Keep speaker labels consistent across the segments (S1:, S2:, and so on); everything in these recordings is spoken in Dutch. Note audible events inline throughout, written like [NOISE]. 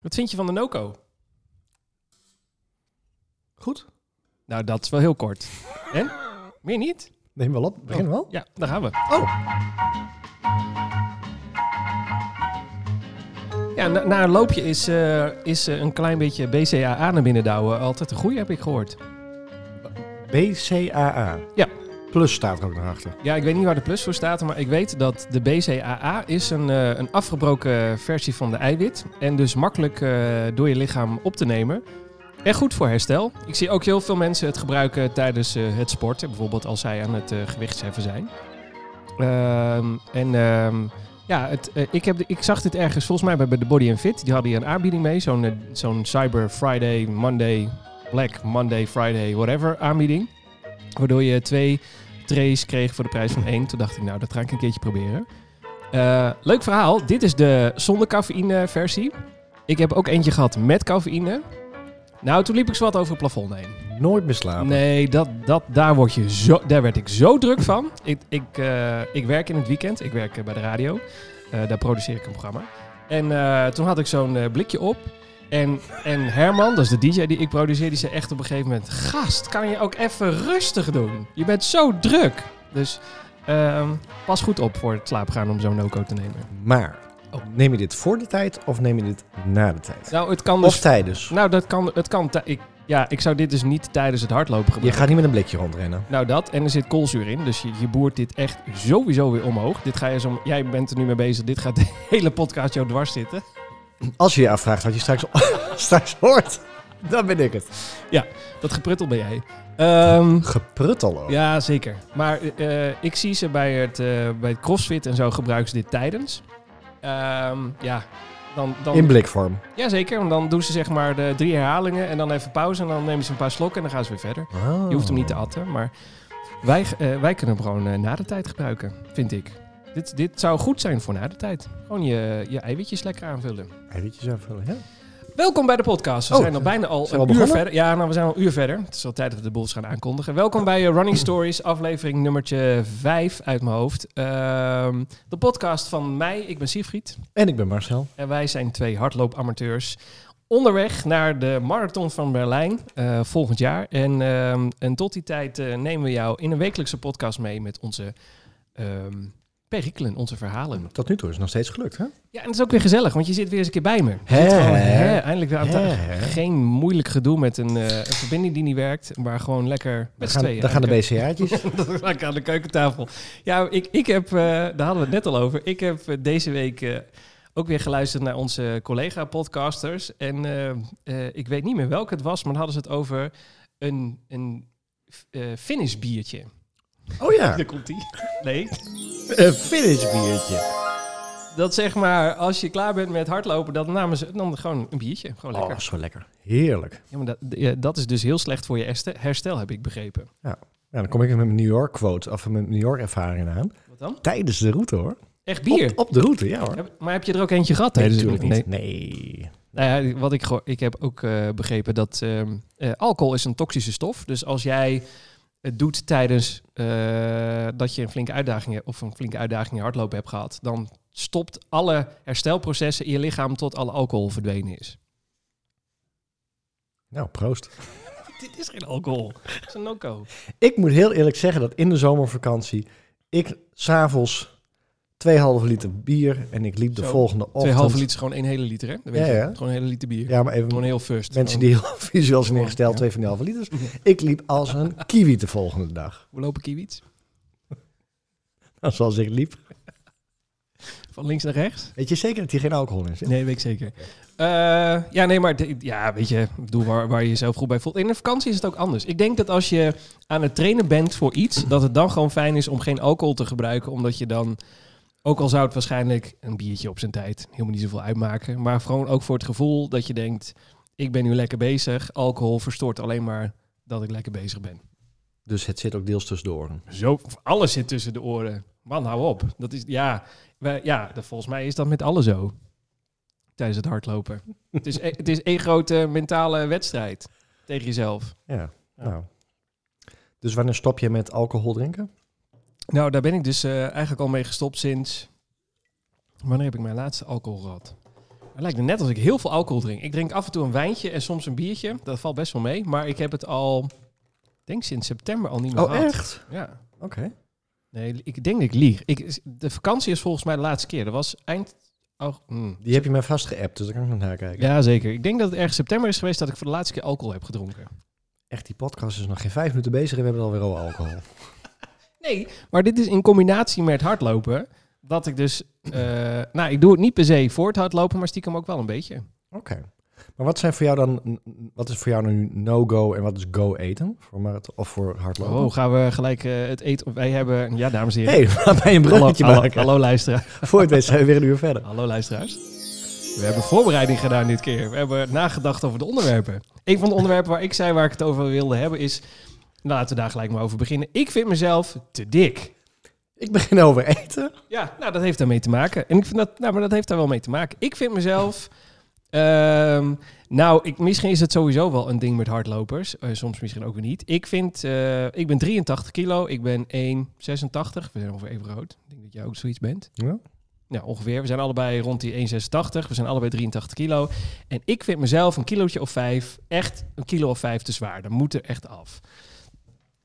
S1: Wat vind je van de Noco?
S2: Goed.
S1: Nou, dat is wel heel kort. Hè? Meer niet?
S2: Neem wel op. Begin wel.
S1: Ja, daar gaan we.
S2: Oh,
S1: Ja, na, na een loopje is, eh, is eh, een klein beetje BCAA naar binnen douwen altijd een goeie, heb ik gehoord.
S2: BCAA.
S1: Ja.
S2: Plus staat er ook nog achter.
S1: Ja, ik weet niet waar de plus voor staat, maar ik weet dat de BCAA is een, eh, een afgebroken versie van de eiwit. En dus makkelijk eh, door je lichaam op te nemen. En goed voor herstel. Ik zie ook heel veel mensen het gebruiken tijdens eh, het sporten. Bijvoorbeeld als zij aan het eh, gewichtsheffen zijn. Ehm, en ehm, ja, het, eh, ik, heb, de- ik zag dit ergens volgens mij bij de Body Fit. Die hadden hier een aanbieding mee. Zo'n eh, zo'n Cyber Friday, Monday, Black Monday, Friday, whatever aanbieding. Waardoor je twee trays kreeg voor de prijs van één. Toen dacht ik, nou, dat ga ik een keertje proberen. Eh, leuk verhaal. Dit is de zonder cafeïne versie. Ik heb ook eentje gehad met cafeïne. Nou, toen liep ik wat over het plafond heen.
S2: Nooit meer slapen.
S1: Nee, dat, dat, daar, word je zo, daar werd ik zo druk van. Ik, ik, eh, ik werk in het weekend, ik werk eh, bij de radio. Eh, daar produceer ik een programma. En eh, toen had ik zo'n eh, blikje op. En, en Herman, dat is de DJ die ik produceer, die zei echt op een gegeven moment... Gast, kan je ook even rustig doen? Je bent zo druk. Dus ehm, pas goed op voor het slaapgaan om zo'n no-code te nemen.
S2: Maar,
S1: Oh.
S2: neem je dit voor de tijd of neem je dit na de tijd?
S1: Nou, het kan
S2: Of
S1: dus...
S2: tijdens?
S1: Nou, dat kan... Het kan tij- ik, ja, ik zou dit dus niet tijdens het hardlopen
S2: Je
S1: gebruiken.
S2: gaat niet met een blikje rondrennen.
S1: Nou dat, en er zit koolzuur in, dus je, je boert dit echt sowieso weer omhoog. Dit ga je zo, jij bent er nu mee bezig, dit gaat [LAUGHS] de hele podcast jou dwars zitten.
S2: Als je je afvraagt wat je straks, [LAUGHS] straks hoort, dan ben ik het.
S1: Dat gepruttel ben jij. Ehm,
S2: Gepruttel ook.
S1: ja, zeker. Maar eh, eh, ik zie ze bij het, eh, bij het crossfit en zo gebruiken ze dit tijdens. Ehm, ja, dan... dan
S2: In blikvorm.
S1: Jazeker, want dan doen ze zeg maar de drie herhalingen en dan even pauze en dan nemen ze een paar slokken en dan gaan ze weer verder. Je hoeft hem niet te
S2: Oh.
S1: atten, maar wij, eh, wij kunnen hem gewoon eh, na de tijd gebruiken, vind ik. Dit, dit zou goed zijn voor na de tijd. Gewoon je, je eiwitjes lekker aanvullen.
S2: Eiwitjes aanvullen, ja.
S1: Welkom bij de podcast. We
S2: Oh,
S1: zijn al bijna al
S2: zijn
S1: een
S2: we al
S1: uur
S2: begonnen?
S1: verder. Ja, nou, we zijn al een uur verder. Het is al tijd dat we de boels gaan aankondigen. Welkom bij eh, Running Stories, aflevering nummertje 5 uit mijn hoofd. Ehm, de podcast van mij, ik ben Siegfried.
S2: En ik ben Marcel.
S1: En wij zijn twee hardloopamateurs onderweg naar de Marathon van Berlijn eh, volgend jaar. En, ehm, en tot die tijd eh, nemen we jou in een wekelijkse podcast mee met onze ehm perikelen, onze verhalen.
S2: Tot nu toe is het nog steeds gelukt, hè?
S1: Ja, en het is ook weer gezellig, want je zit weer eens een keer bij me. Je
S2: Hè?
S1: zit gewoon, hè, eindelijk weer aan tafel.
S2: Hè?
S1: Geen moeilijk gedoe met een, eh, een verbinding die niet werkt, maar gewoon lekker
S2: Dan
S1: met z'n
S2: gaan,
S1: tweeën.
S2: dan gaan de
S1: aan de [LAUGHS]
S2: BCA'tjes.
S1: keu- lekker aan de keukentafel. Ja, ik, ik heb, eh, daar hadden we het net al over, ik heb eh, deze week eh, ook weer geluisterd naar onze collega-podcasters. En eh, eh, ik weet niet meer welke het was, maar dan hadden ze het over een, een eh Finnish biertje.
S2: Oh ja,
S1: Daar komt ie. Nee.
S2: een finish biertje.
S1: Dat zeg maar, als je klaar bent met hardlopen, dan namen ze dan gewoon een biertje. Gewoon lekker.
S2: Oh, zo lekker. Heerlijk.
S1: Ja, maar dat, ja, dat is dus heel slecht voor je herste- herstel, heb ik begrepen.
S2: Ja, Nou, dan kom ik even met mijn New York quote of mijn New York ervaring aan.
S1: Wat dan?
S2: Tijdens de route hoor.
S1: Echt bier.
S2: Op, op de route, ja hoor.
S1: Heb- maar heb je er ook eentje gehad tijdens de-
S2: Oh. natuurlijk Nee.
S1: Nou ja, wat ik, geho- ik heb ook eh, begrepen dat ehm, eh, alcohol is een toxische stof. Dus als jij het doet tijdens eh, dat je een flinke uitdaging hebt- of een flinke uitdaging in hardlopen hebt gehad, dan stopt alle herstelprocessen in je lichaam tot alle alcohol verdwenen is.
S2: Nou, proost.
S1: Dit is geen alcohol. Het is een no-go.
S2: Ik moet heel eerlijk zeggen dat in de zomervakantie ik s'avonds 2,5 liter bier en ik liep de
S1: Zo.
S2: volgende ochtend.
S1: Twee halve liter is gewoon één hele liter, hè? Dat weet
S2: Ja,
S1: je.
S2: ja.
S1: Gewoon een hele liter bier.
S2: Ja, maar even
S1: Gewoon een heel first.
S2: mensen
S1: Gewoon-
S2: die heel [LAUGHS] visueel zijn ingesteld,
S1: Ja.
S2: twee van die halve liters. Ik liep als een kiwi de volgende dag. [LAUGHS]
S1: Hoe lopen kiwits?
S2: Nou, Zoals ik liep.
S1: Van links naar rechts?
S2: Weet je zeker dat hier geen alcohol in zit?
S1: Nee, weet ik zeker. Eh, ja, nee, maar dit- ja, weet je, doe waar, waar je jezelf goed bij voelt. In de vakantie is het ook anders. Ik denk dat als je aan het trainen bent voor iets, dat het dan gewoon fijn is om geen alcohol te gebruiken, omdat je dan, ook al zou het waarschijnlijk een biertje op zijn tijd helemaal niet zoveel uitmaken, maar gewoon ook voor het gevoel dat je denkt, ik ben nu lekker bezig. Alcohol verstoort alleen maar dat ik lekker bezig ben.
S2: Dus het zit ook deels tussendoor.
S1: Zo, alles zit tussen de oren. Man, hou op. Dat is, ja, wij- ja dat, volgens mij is dat met alles zo. Tijdens het hardlopen. het, is, e- het is één grote mentale wedstrijd tegen jezelf.
S2: Ja,
S1: Ja.
S2: nou. Dus wanneer stop je met alcohol drinken?
S1: Nou, daar ben ik dus eh, eigenlijk al mee gestopt sinds... Wanneer heb ik mijn laatste alcohol gehad? Het lijkt me net als ik heel veel alcohol drink. Ik drink af en toe een wijntje en soms een biertje. Dat valt best wel mee. Maar ik heb het al, ik denk sinds september al niet meer
S2: Oh,
S1: gehad.
S2: echt?
S1: Ja.
S2: Oké.
S1: Nee, ik denk dat ik lieg. Ik, de vakantie is volgens mij de laatste keer. Dat was eind... Oh, hmm.
S2: Die heb je mij vastgeappt, dus daar kan ik nog naar kijken.
S1: Ja, zeker. Ik denk dat het ergens september is geweest dat ik voor de laatste keer alcohol heb gedronken.
S2: Echt, die podcast is nog geen vijf minuten bezig en we hebben alweer al alcohol.
S1: Nee, maar dit is in combinatie met hardlopen. Dat ik dus... eh, [CLEARS THROAT] nou, ik doe het niet per se voor het hardlopen, maar stiekem ook wel een beetje.
S2: Oké. Maar wat zijn voor jou dan, wat is voor jou nu no-go en wat is go eten? Voor marathon, of voor hardlopen?
S1: Oh, gaan we gelijk eh, het eten... Wij hebben... Ja, dames en heren.
S2: [LAUGHS] hey, laat mij een
S1: hallo,
S2: bruggetje
S1: hallo,
S2: maken.
S1: hallo, luisteraar.
S2: Voor het weet zijn we weer een uur verder.
S1: hallo luisteraars. We hebben voorbereiding gedaan dit keer. We hebben nagedacht over de onderwerpen. Een van de onderwerpen waar ik zei waar ik het over wilde hebben is... Nou, laten we daar gelijk maar over beginnen. Ik vind mezelf te dik.
S2: Ik begin over eten.
S1: Ja, nou, dat heeft daarmee te maken. En ik vind dat, nou, maar dat heeft daar wel mee te maken. Ik vind mezelf. ehm, nou, ik, misschien is het sowieso wel een ding met hardlopers. Eh, soms misschien ook weer niet. Ik vind, eh, ik ben 83 kilo. Ik ben 1,86. We zijn ongeveer even groot. Ik denk dat jij ook zoiets bent.
S2: Ja.
S1: Nou, ongeveer. We zijn allebei rond die 1,86. We zijn allebei 83 kilo. En ik vind mezelf een kilootje of vijf, echt een kilo of vijf te zwaar. Dat moet er echt af.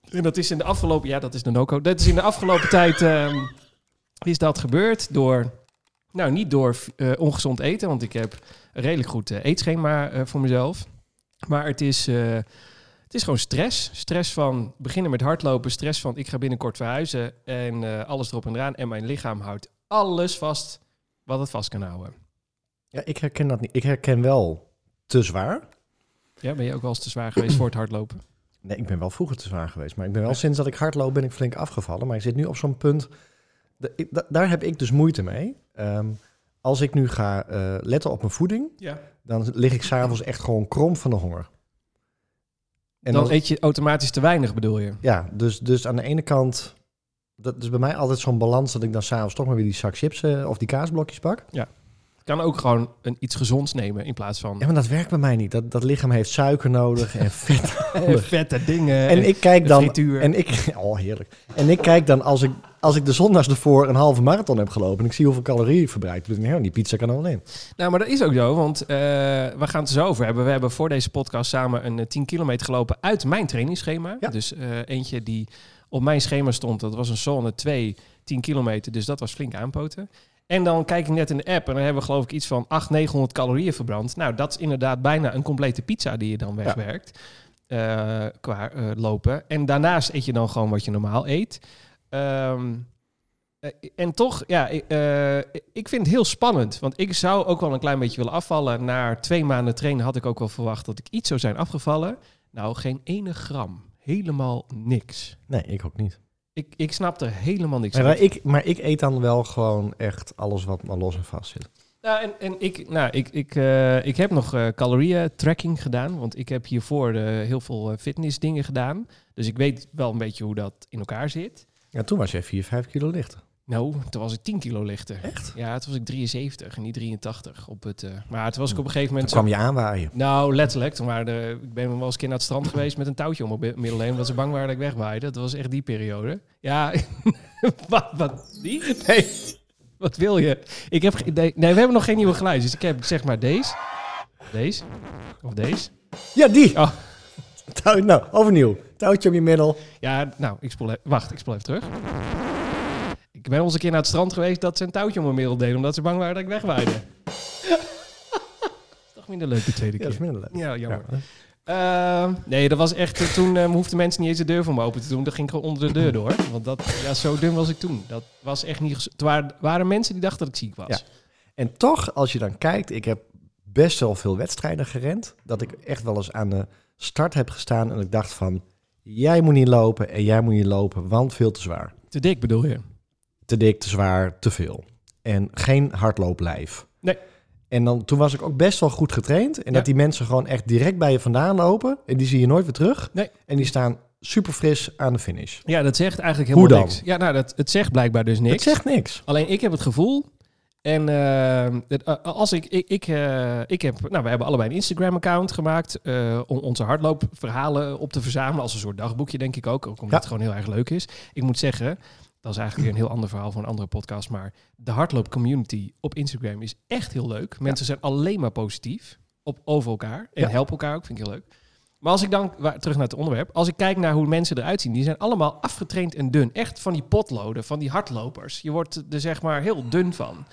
S1: En dat is in de afgelopen, ja, dat is de no Dat is in de afgelopen [LAUGHS] tijd. ehm, is dat gebeurd door, nou niet door eh, ongezond eten, want ik heb een redelijk goed eh, eetschema eh, voor mezelf. Maar het is, eh, het is gewoon stress. Stress van beginnen met hardlopen, stress van ik ga binnenkort verhuizen en eh, alles erop en eraan. En mijn lichaam houdt alles vast wat het vast kan houden.
S2: Ja, ik herken dat niet. Ik herken wel te zwaar.
S1: Ja, ben je ook wel eens te zwaar geweest voor het hardlopen?
S2: Nee, ik ben wel vroeger te zwaar geweest. Maar ik ben wel sinds dat ik hardloop ben ik flink afgevallen. Maar ik zit nu op zo'n punt. da- ik- da- daar heb ik dus moeite mee. Ehm, als ik nu ga eh, letten op mijn voeding,
S1: Ja.
S2: dan lig ik s'avonds echt gewoon krom van de honger.
S1: En
S2: En
S1: dan,
S2: dan,
S1: eet je automatisch te weinig, bedoel je?
S2: ja, dus, dus aan de ene kant, dat is bij mij altijd zo'n balans dat ik dan s'avonds toch maar weer die zak chips eh, of die kaasblokjes pak.
S1: Kan ook gewoon een, iets gezonds nemen in plaats van
S2: Ja, maar dat werkt bij mij niet. Dat, dat lichaam heeft suiker nodig en vet.
S1: [LAUGHS] vette dingen.
S2: en ik kijk
S1: dan,
S2: dan
S1: frituur.
S2: En ik, [LAUGHS] oh heerlijk. En ik kijk dan als ik, als ik de zondags ervoor een halve marathon heb gelopen en ik zie hoeveel calorieën ik verbruik, dan denk ik, nou, die pizza kan er wel in.
S1: Nou, maar dat is ook zo, want eh, we gaan het er zo over hebben. We hebben voor deze podcast samen een eh, 10 kilometer gelopen uit mijn trainingsschema.
S2: Ja.
S1: Dus eh, eentje die op mijn schema stond, dat was een zone 2, 10 kilometer. Dus dat was flink aanpoten. En dan kijk ik net in de app en dan hebben we geloof ik iets van 800, 900 calorieën verbrand. Nou, dat is inderdaad bijna een complete pizza die je dan wegwerkt eh, qua eh, lopen. En daarnaast eet je dan gewoon wat je normaal eet. Ehm, eh, en toch, ja, ik, eh, ik vind het heel spannend. Want ik zou ook wel een klein beetje willen afvallen. Na twee maanden trainen had ik ook wel verwacht dat ik iets zou zijn afgevallen. Nou, geen ene gram. Helemaal niks.
S2: Nee, ik ook niet.
S1: Ik, ik snap er helemaal niks
S2: Maar,
S1: van.
S2: ik, maar ik eet dan wel gewoon echt alles wat maar los en vast zit.
S1: Nou, en, en ik, nou, ik, ik, eh, ik heb nog eh calorieën tracking gedaan. Want ik heb hiervoor eh, heel veel eh, fitnessdingen gedaan. Dus ik weet wel een beetje hoe dat in elkaar zit.
S2: Ja, toen was jij 4, 5 kilo lichter.
S1: Nou, toen was ik 10 kilo lichter.
S2: Echt?
S1: Ja, toen was ik 73 en niet 83 op het. eh, maar toen was ik op een gegeven
S2: Hm. Toen
S1: moment.
S2: kwam je aanwaaien.
S1: Nou, letterlijk. Toen waren er, ik ben wel eens een keer naar het strand geweest met een touwtje om op mijn middellijn, omdat ze bang waren dat ik wegwaaide. Dat was echt die periode. Ja, [LAUGHS] wat, wat, die?
S2: Nee.
S1: Wat wil je? Ik heb, ge- nee, nee, we hebben nog geen nieuwe geluidjes. Ik heb zeg maar deze, deze of deze.
S2: Ja, die.
S1: Oh.
S2: Touw, nou, overnieuw. Touwtje om je middel.
S1: Ja, nou, ik spoel e- wacht, ik spoel even terug. Ik ben ons een keer naar het strand geweest dat ze een touwtje om mijn middel deden, omdat ze bang waren dat ik wegwaaide. [LAUGHS] Dat is toch minder leuk de tweede
S2: Ja, dat is
S1: keer.
S2: minder leuk.
S1: Ja, jammer.
S2: Ja.
S1: Ehm, nee, dat was echt. eh, Toen eh, hoefden mensen niet eens de deur voor me open te doen. Dat ging ik gewoon onder de deur door. Want dat, ja, zo dun was ik toen. Dat was echt niet. gez- Het waren, waren mensen die dachten dat ik ziek was.
S2: Ja. En toch, als je dan kijkt, ik heb best wel veel wedstrijden gerend. Dat ik echt wel eens aan de start heb gestaan en ik dacht van... Jij moet niet lopen en jij moet niet lopen, want veel te zwaar.
S1: Te dik bedoel je?
S2: Te dik, te zwaar, te veel. En geen hardlooplijf.
S1: Nee.
S2: En dan, toen was ik ook best wel goed getraind. En
S1: Ja.
S2: dat die mensen gewoon echt direct bij je vandaan lopen. En die zie je nooit weer terug.
S1: Nee.
S2: En die staan super fris aan de finish.
S1: Ja, dat zegt eigenlijk
S2: Hoe
S1: helemaal
S2: dan?
S1: niks. Ja, nou, dat, het zegt blijkbaar dus niks.
S2: Het zegt niks.
S1: Alleen ik heb het gevoel. En eh, dat, eh, als ik, ik, ik, eh, ik heb, nou, we hebben allebei een Instagram-account gemaakt eh, om onze hardloopverhalen op te verzamelen als een soort dagboekje, denk ik ook, ook omdat
S2: Ja.
S1: het gewoon heel erg leuk is. Ik moet zeggen, Dat is eigenlijk weer een heel ander verhaal voor een andere podcast. Maar de hardloopcommunity op Instagram is echt heel leuk. Mensen zijn alleen maar positief op, over elkaar. En
S2: Ja.
S1: helpen elkaar ook, vind ik heel leuk. Maar als ik dan, waar- terug naar het onderwerp. Als ik kijk naar hoe mensen eruit zien. Die zijn allemaal afgetraind en dun. Echt van die potloden, van die hardlopers. Je wordt er zeg maar heel dun van.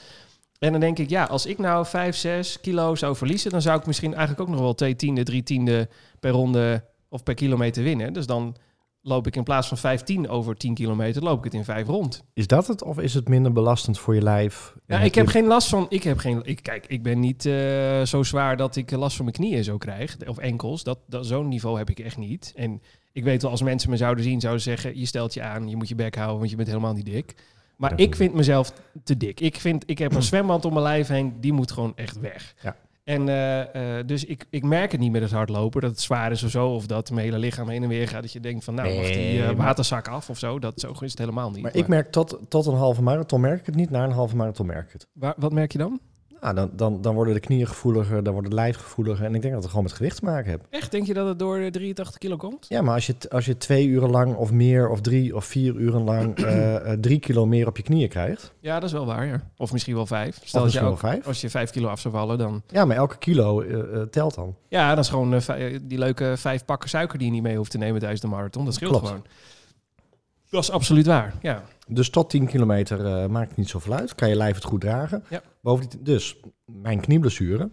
S1: En dan denk ik, ja, als ik nou 5, 6 kilo zou verliezen... dan zou ik misschien eigenlijk ook nog wel 2 tiende, 3 tiende per ronde of per kilometer winnen. Dus dan loop ik in plaats van 15 over 10 kilometer, loop ik het in 5 rond.
S2: Is dat het of is het minder belastend voor je lijf? En
S1: Ja,
S2: heb
S1: ik heb
S2: je-
S1: geen last van. Ik heb geen. Ik, kijk, ik ben niet eh, zo zwaar dat ik last van mijn knieën zo krijg. Of enkels. Dat, dat, Zo'n niveau heb ik echt niet. En ik weet wel, als mensen me zouden zien, zouden ze zeggen: je stelt je aan, je moet je bek houden, want je bent helemaal niet dik. Maar
S2: Ja.
S1: ik vind mezelf te dik. Ik, vind, ik
S2: [CLEARS THROAT]
S1: heb een zwemband om mijn lijf heen, die moet gewoon echt weg.
S2: Ja.
S1: En eh, eh, dus ik, ik merk het niet met het hardlopen, dat het zwaar is of zo. Of dat mijn hele lichaam heen en weer gaat. Dat je denkt van, nou, mag die
S2: Nee,
S1: eh,
S2: maar-
S1: waterzak af of zo. Dat, zo is het helemaal niet.
S2: Maar ik merk tot, tot een halve marathon merk ik het niet, na een halve marathon merk ik het.
S1: Waar- wat merk je dan?
S2: Nou, dan, dan, dan worden de knieën gevoeliger, dan wordt het lijf gevoeliger. En ik denk dat het gewoon met gewicht te maken heeft.
S1: Echt? Denk je dat het door de 83 kilo komt?
S2: Ja, maar als je, t- als je twee uren lang of meer of drie of vier uren [CLEARS THROAT] lang eh, eh, drie kilo meer op je knieën krijgt,
S1: Ja, dat is wel waar, ja. Of misschien wel vijf.
S2: of
S1: Stel dat je
S2: misschien wel
S1: ook,
S2: vijf.
S1: als je vijf kilo af zou vallen, dan...
S2: Ja, maar elke kilo eh, eh, telt dan.
S1: Ja, dat is gewoon eh, vij- die leuke vijf pakken suiker die je niet mee hoeft te nemen tijdens de marathon. Dat scheelt
S2: Klopt.
S1: gewoon. Dat is absoluut waar, ja.
S2: Dus tot 10 kilometer eh, maakt het niet zoveel uit. Kan je lijf het goed dragen.
S1: Ja.
S2: Bovendien, dus mijn knieblessure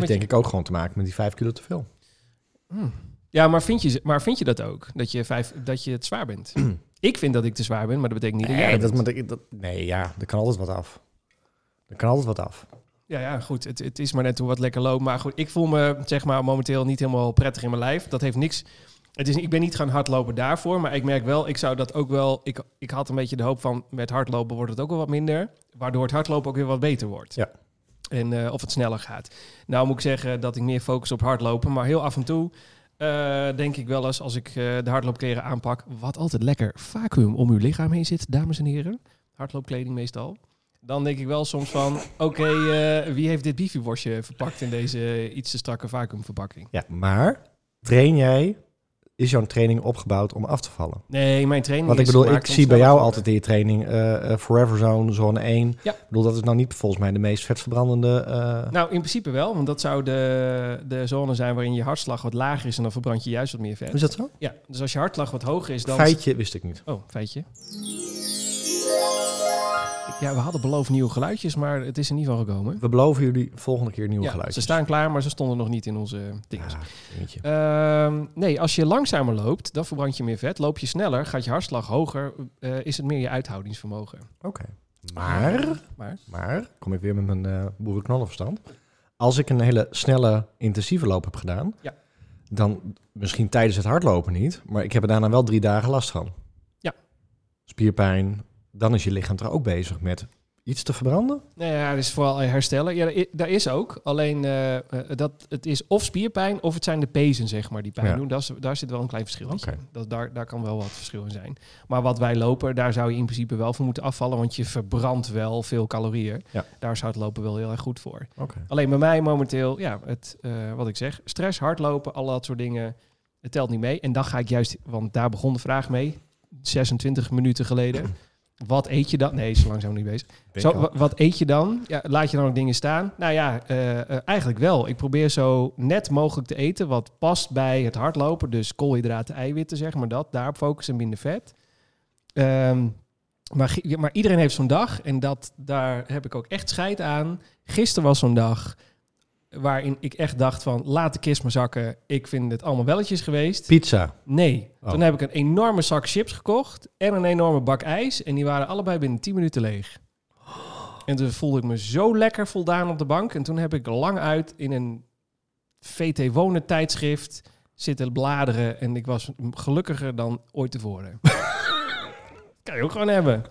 S1: Met je-
S2: denk ik ook gewoon te maken met die 5 kilo te veel.
S1: Hm. Ja, maar vind, je, maar vind je dat ook? Dat je, vijf, dat je het zwaar
S2: [CLEARS THROAT]
S1: bent? ik vind dat ik te zwaar ben, maar dat betekent niet dat jij
S2: Nee,
S1: dat
S2: dat, moet ik- dat, nee, ja, er kan altijd wat af. Er kan altijd wat af.
S1: Ja, ja, goed. Het, het is maar net hoe wat lekker loopt. Maar goed, ik voel me zeg maar momenteel niet helemaal prettig in mijn lijf. Dat heeft niks. Het is, ik ben niet gaan hardlopen daarvoor. Maar ik merk wel, ik zou dat ook wel. Ik, ik had een beetje de hoop van met hardlopen wordt het ook wel wat minder. Waardoor het hardlopen ook weer wat beter wordt.
S2: Ja.
S1: En eh, of het sneller gaat. Nou moet ik zeggen dat ik meer focus op hardlopen. Maar heel af en toe eh, denk ik wel eens als ik eh, de hardloopkleren aanpak. Wat altijd lekker vacuüm om uw lichaam heen zit, dames en heren. Hardloopkleding meestal. Dan denk ik wel soms van, oké, eh, wie heeft dit bifiborstje verpakt in deze iets te strakke vacuümverpakking?
S2: Ja, maar train jij, is jouw training opgebouwd om af te vallen?
S1: Nee, mijn training
S2: Want ik
S1: is
S2: bedoel, ik
S1: gemaakt om
S2: zie bij
S1: sneller
S2: jou
S1: te
S2: altijd in je training eh, eh, Forever Zone, zone 1.
S1: Ja.
S2: Ik bedoel, dat is nou niet volgens mij de meest vetverbrandende... eh,
S1: worden. Nou, in principe wel, want dat zou de, de zone zijn waarin je hartslag wat lager is en dan verbrand je juist wat meer vet.
S2: Is dat zo?
S1: Ja, dus als je hartslag wat hoger is, dan...
S2: Feitje wist ik niet.
S1: Oh, feitje. Ja, we hadden beloofd nieuwe geluidjes, maar het is er niet van gekomen.
S2: We beloven jullie volgende keer nieuwe
S1: ja,
S2: geluidjes.
S1: Ze staan klaar, maar ze stonden nog niet in onze dingen.
S2: Ja, eentje.
S1: Ehm, nee, als je langzamer loopt, dan verbrand je meer vet. Loop je sneller, gaat je hartslag hoger, eh, is het meer je uithoudingsvermogen.
S2: Oké. Maar,
S1: Maar?
S2: maar, kom ik weer met mijn eh boerenknollenverstand. Als ik een hele snelle, intensieve loop heb gedaan,
S1: Ja.
S2: dan misschien tijdens het hardlopen niet, maar ik heb er daarna wel drie dagen last van.
S1: Ja.
S2: Spierpijn, dan is je lichaam er ook bezig met iets te verbranden.
S1: Nou ja, dat is vooral herstellen. Ja, daar i- daar is ook. Alleen eh, eh, dat, het is of spierpijn of het zijn de pezen, zeg maar, die pijn
S2: Ja.
S1: doen. Dat is, daar zit wel een klein verschil
S2: Oké.
S1: in. Dat, daar, daar kan wel wat verschil in zijn. Maar wat wij lopen, daar zou je in principe wel voor moeten afvallen. Want je verbrandt wel veel calorieën.
S2: Ja.
S1: Daar is hardlopen wel heel erg goed voor.
S2: Oké.
S1: Alleen bij mij momenteel, ja, het, eh, wat ik zeg, stress, hardlopen, al dat soort dingen, het telt niet mee. En dan ga ik juist, want daar begon de vraag mee, 26 minuten geleden. Wat eet je dan? Nee, zo langzaam niet bezig. Zo, wa- wat eet je dan? Ja, laat je dan ook dingen staan? Nou ja, eh, eh, eigenlijk wel. Ik probeer zo net mogelijk te eten wat past bij het hardlopen. Dus koolhydraten, eiwitten, zeg maar dat. Daarop focussen, minder vet. Ehm, maar, gi- maar iedereen heeft zo'n dag en dat, daar heb ik ook echt scheid aan. Gisteren was zo'n dag waarin ik echt dacht van laat de kist maar zakken. Ik vind het allemaal welletjes geweest.
S2: Pizza.
S1: Nee.
S2: Oh.
S1: Toen heb ik een enorme zak chips gekocht en een enorme bak ijs. En die waren allebei binnen 10 minuten leeg. En toen voelde ik me zo lekker voldaan op de bank. En toen heb ik lang uit in een VT Wonen tijdschrift zitten bladeren. En ik was gelukkiger dan ooit tevoren. kan je ook gewoon hebben.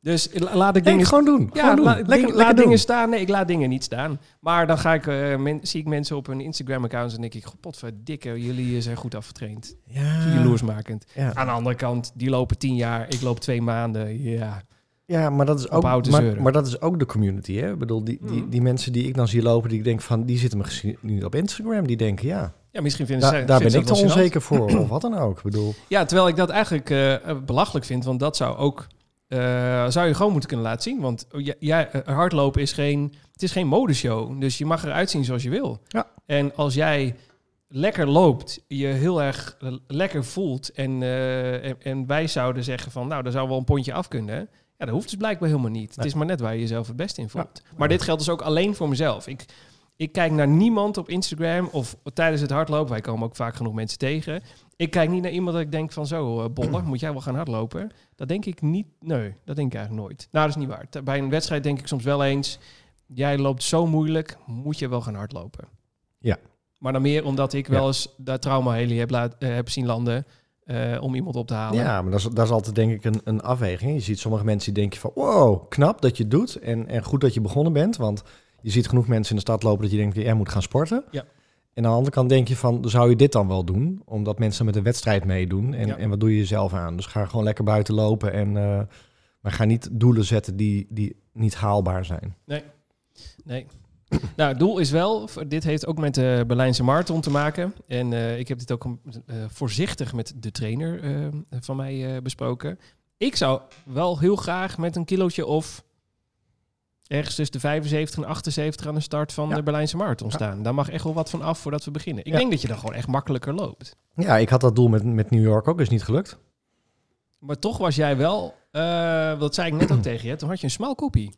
S1: Dus la- laat ik
S2: Nee,
S1: dingen
S2: gewoon doen.
S1: ja,
S2: gewoon doen.
S1: la-
S2: Lekker-
S1: ding-
S2: lekker
S1: laat
S2: doen.
S1: dingen staan. Nee, ik laat dingen niet staan. Maar dan ga ik, eh, men- zie ik mensen op hun Instagram-accounts en denk ik... Godverdikke, jullie eh, zijn goed afgetraind.
S2: Ja,
S1: Jaloersmakend.
S2: ja.
S1: Aan de andere kant, die lopen tien jaar, ik loop twee maanden. Ja,
S2: ja, maar dat is ook,
S1: Ophouden te
S2: maar,
S1: zeuren.
S2: maar dat is ook de community. Hè? Ik bedoel, die, die,
S1: Mhm.
S2: die mensen die ik dan zie lopen, die ik denk van, die zitten me gezien niet op Instagram. Die denken, ja,
S1: Ja, misschien vinden
S2: Da-
S1: ze
S2: daar
S1: vinden
S2: ben
S1: ze
S2: ik te
S1: dat wel gênant.
S2: onzeker voor, of wat dan ook. Ik bedoel,
S1: Ja, terwijl ik dat eigenlijk eh, belachelijk vind, want dat zou ook eh, zou je gewoon moeten kunnen laten zien. Want j- jij- eh, hardlopen is geen, het is geen modeshow, dus je mag eruit zien zoals je wil.
S2: Ja.
S1: En als jij lekker loopt, je heel erg eh, lekker voelt en, eh, en, en wij zouden zeggen van, nou, daar zou wel een pondje af kunnen. Ja, dat hoeft dus blijkbaar helemaal niet. Het
S2: Nee.
S1: is maar net waar je jezelf het beste in voelt. Maar dit geldt dus ook alleen voor mezelf. Ik, ik kijk naar niemand op Instagram of tijdens het hardlopen. Wij komen ook vaak genoeg mensen tegen. Ik kijk niet naar iemand dat ik denk van zo, eh Bolle, moet jij wel gaan hardlopen? Dat denk ik niet. Nee, dat denk ik eigenlijk nooit. Nou, dat is niet waar. T- Bij een wedstrijd denk ik soms wel eens, jij loopt zo moeilijk, moet je wel gaan hardlopen.
S2: Ja.
S1: Maar dan meer omdat ik
S2: Ja.
S1: wel eens dat trauma heli heb, laat, eh, heb zien landen eh, om iemand op te halen.
S2: ja, maar dat is, dat is altijd denk ik een, een afweging. Je ziet sommige mensen die denken van, wow, knap dat je het doet en, en goed dat je begonnen bent. Want je ziet genoeg mensen in de stad lopen dat je denkt, jij moet gaan sporten.
S1: Ja.
S2: En aan de andere kant denk je van, zou je dit dan wel doen? Omdat mensen met een wedstrijd meedoen en,
S1: Ja.
S2: en wat doe je jezelf aan? Dus ga gewoon lekker buiten lopen en... eh, maar ga niet doelen zetten die, die niet haalbaar zijn.
S1: Nee. [COUGHS] Nou, het doel is wel, v- dit heeft ook met de Berlijnse marathon te maken. En eh, ik heb dit ook een- eh, voorzichtig met de trainer eh, van mij eh, besproken. Ik zou wel heel graag met een kilootje of ergens tussen de 75 en 78 aan de start van
S2: Ja.
S1: de Berlijnse marathon
S2: Ja.
S1: staan. Daar mag echt wel wat van af voordat we beginnen. Ik
S2: Ja.
S1: denk dat je dan gewoon echt makkelijker loopt.
S2: Ja, ik had dat doel met, met New York ook, is niet gelukt.
S1: Maar toch was jij wel, eh, dat zei ik net ook [CLEARS THROAT] tegen je, toen had je een smal koepie.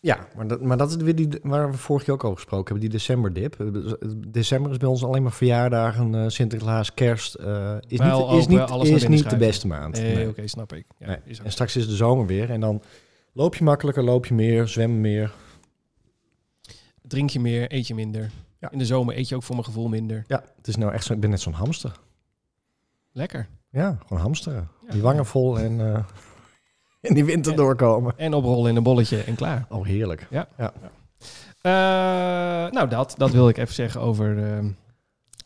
S2: Ja, maar dat, maar dat is weer die waar we vorig jaar ook over gesproken hebben, die decemberdip. Eh, dus, December is bij ons alleen maar verjaardagen, eh, Sinterklaas, kerst. eh, is
S1: Wel
S2: niet, is
S1: open,
S2: niet,
S1: alles naar binnen
S2: is niet de
S1: schuiven.
S2: beste maand.
S1: Nee,
S2: Nee.
S1: oké, snap ik. Ja,
S2: Nee.
S1: is ook-
S2: En straks is de zomer weer en dan loop je makkelijker, loop je meer, zwem meer.
S1: Drink je meer, eet je minder.
S2: Ja.
S1: In de zomer eet je ook voor mijn gevoel minder.
S2: Ja, het is nou echt zo, ik ben net zo'n hamster.
S1: Lekker.
S2: Ja, gewoon hamsteren.
S1: Ja.
S2: Die wangen vol en eh, [LAUGHS] in die winter
S1: Ja.
S2: doorkomen.
S1: En oprollen in een bolletje en klaar.
S2: Oh, heerlijk.
S1: Eh, nou, dat, dat wil ik even zeggen over. ehm,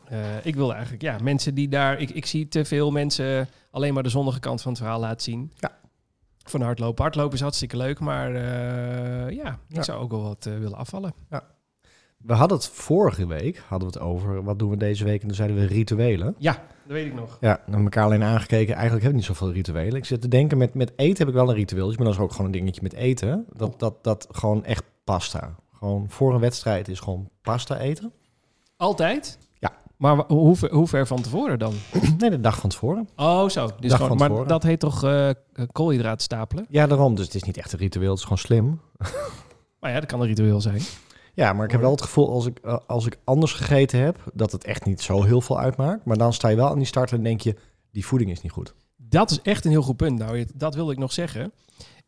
S1: eh, ik wil eigenlijk, ja, mensen die daar. Ik, ik zie te veel mensen alleen maar de zonnige kant van het verhaal laten zien.
S2: Ja.
S1: Van hardlopen. Hardlopen is hartstikke leuk, maar eh, ja, ik
S2: Ja.
S1: zou ook wel wat eh, willen afvallen.
S2: We hadden het vorige week, hadden we het over, wat doen we deze week? En toen zeiden we rituelen.
S1: Ja, dat weet ik nog.
S2: Ja, we hebben elkaar alleen aangekeken. Eigenlijk heb ik niet zoveel rituelen. Ik zit te denken, met, met eten heb ik wel een ritueel. Dus ik ben dus ook gewoon een dingetje met eten. Dat, dat, dat gewoon echt pasta. Gewoon voor een wedstrijd is gewoon pasta eten. [CLEARS THROAT]
S1: Altijd?
S2: Ja.
S1: Maar wa- hoe, ver- hoe ver van tevoren dan?
S2: Nee, de dag van tevoren.
S1: Oh, zo. Dus
S2: Dag
S1: gewoon,
S2: van
S1: maar
S2: tevoren.
S1: dat heet toch eh, koolhydraten stapelen?
S2: Ja, daarom. Dus het is niet echt een ritueel. Het is gewoon slim.
S1: Maar ja, dat kan een ritueel zijn.
S2: Ja, maar ik heb wel het gevoel als ik, eh, als ik anders gegeten heb... dat het echt niet zo heel veel uitmaakt. Maar dan sta je wel aan die start en denk je... die voeding is niet goed.
S1: Dat is echt een heel goed punt. Nou, dat wilde ik nog zeggen.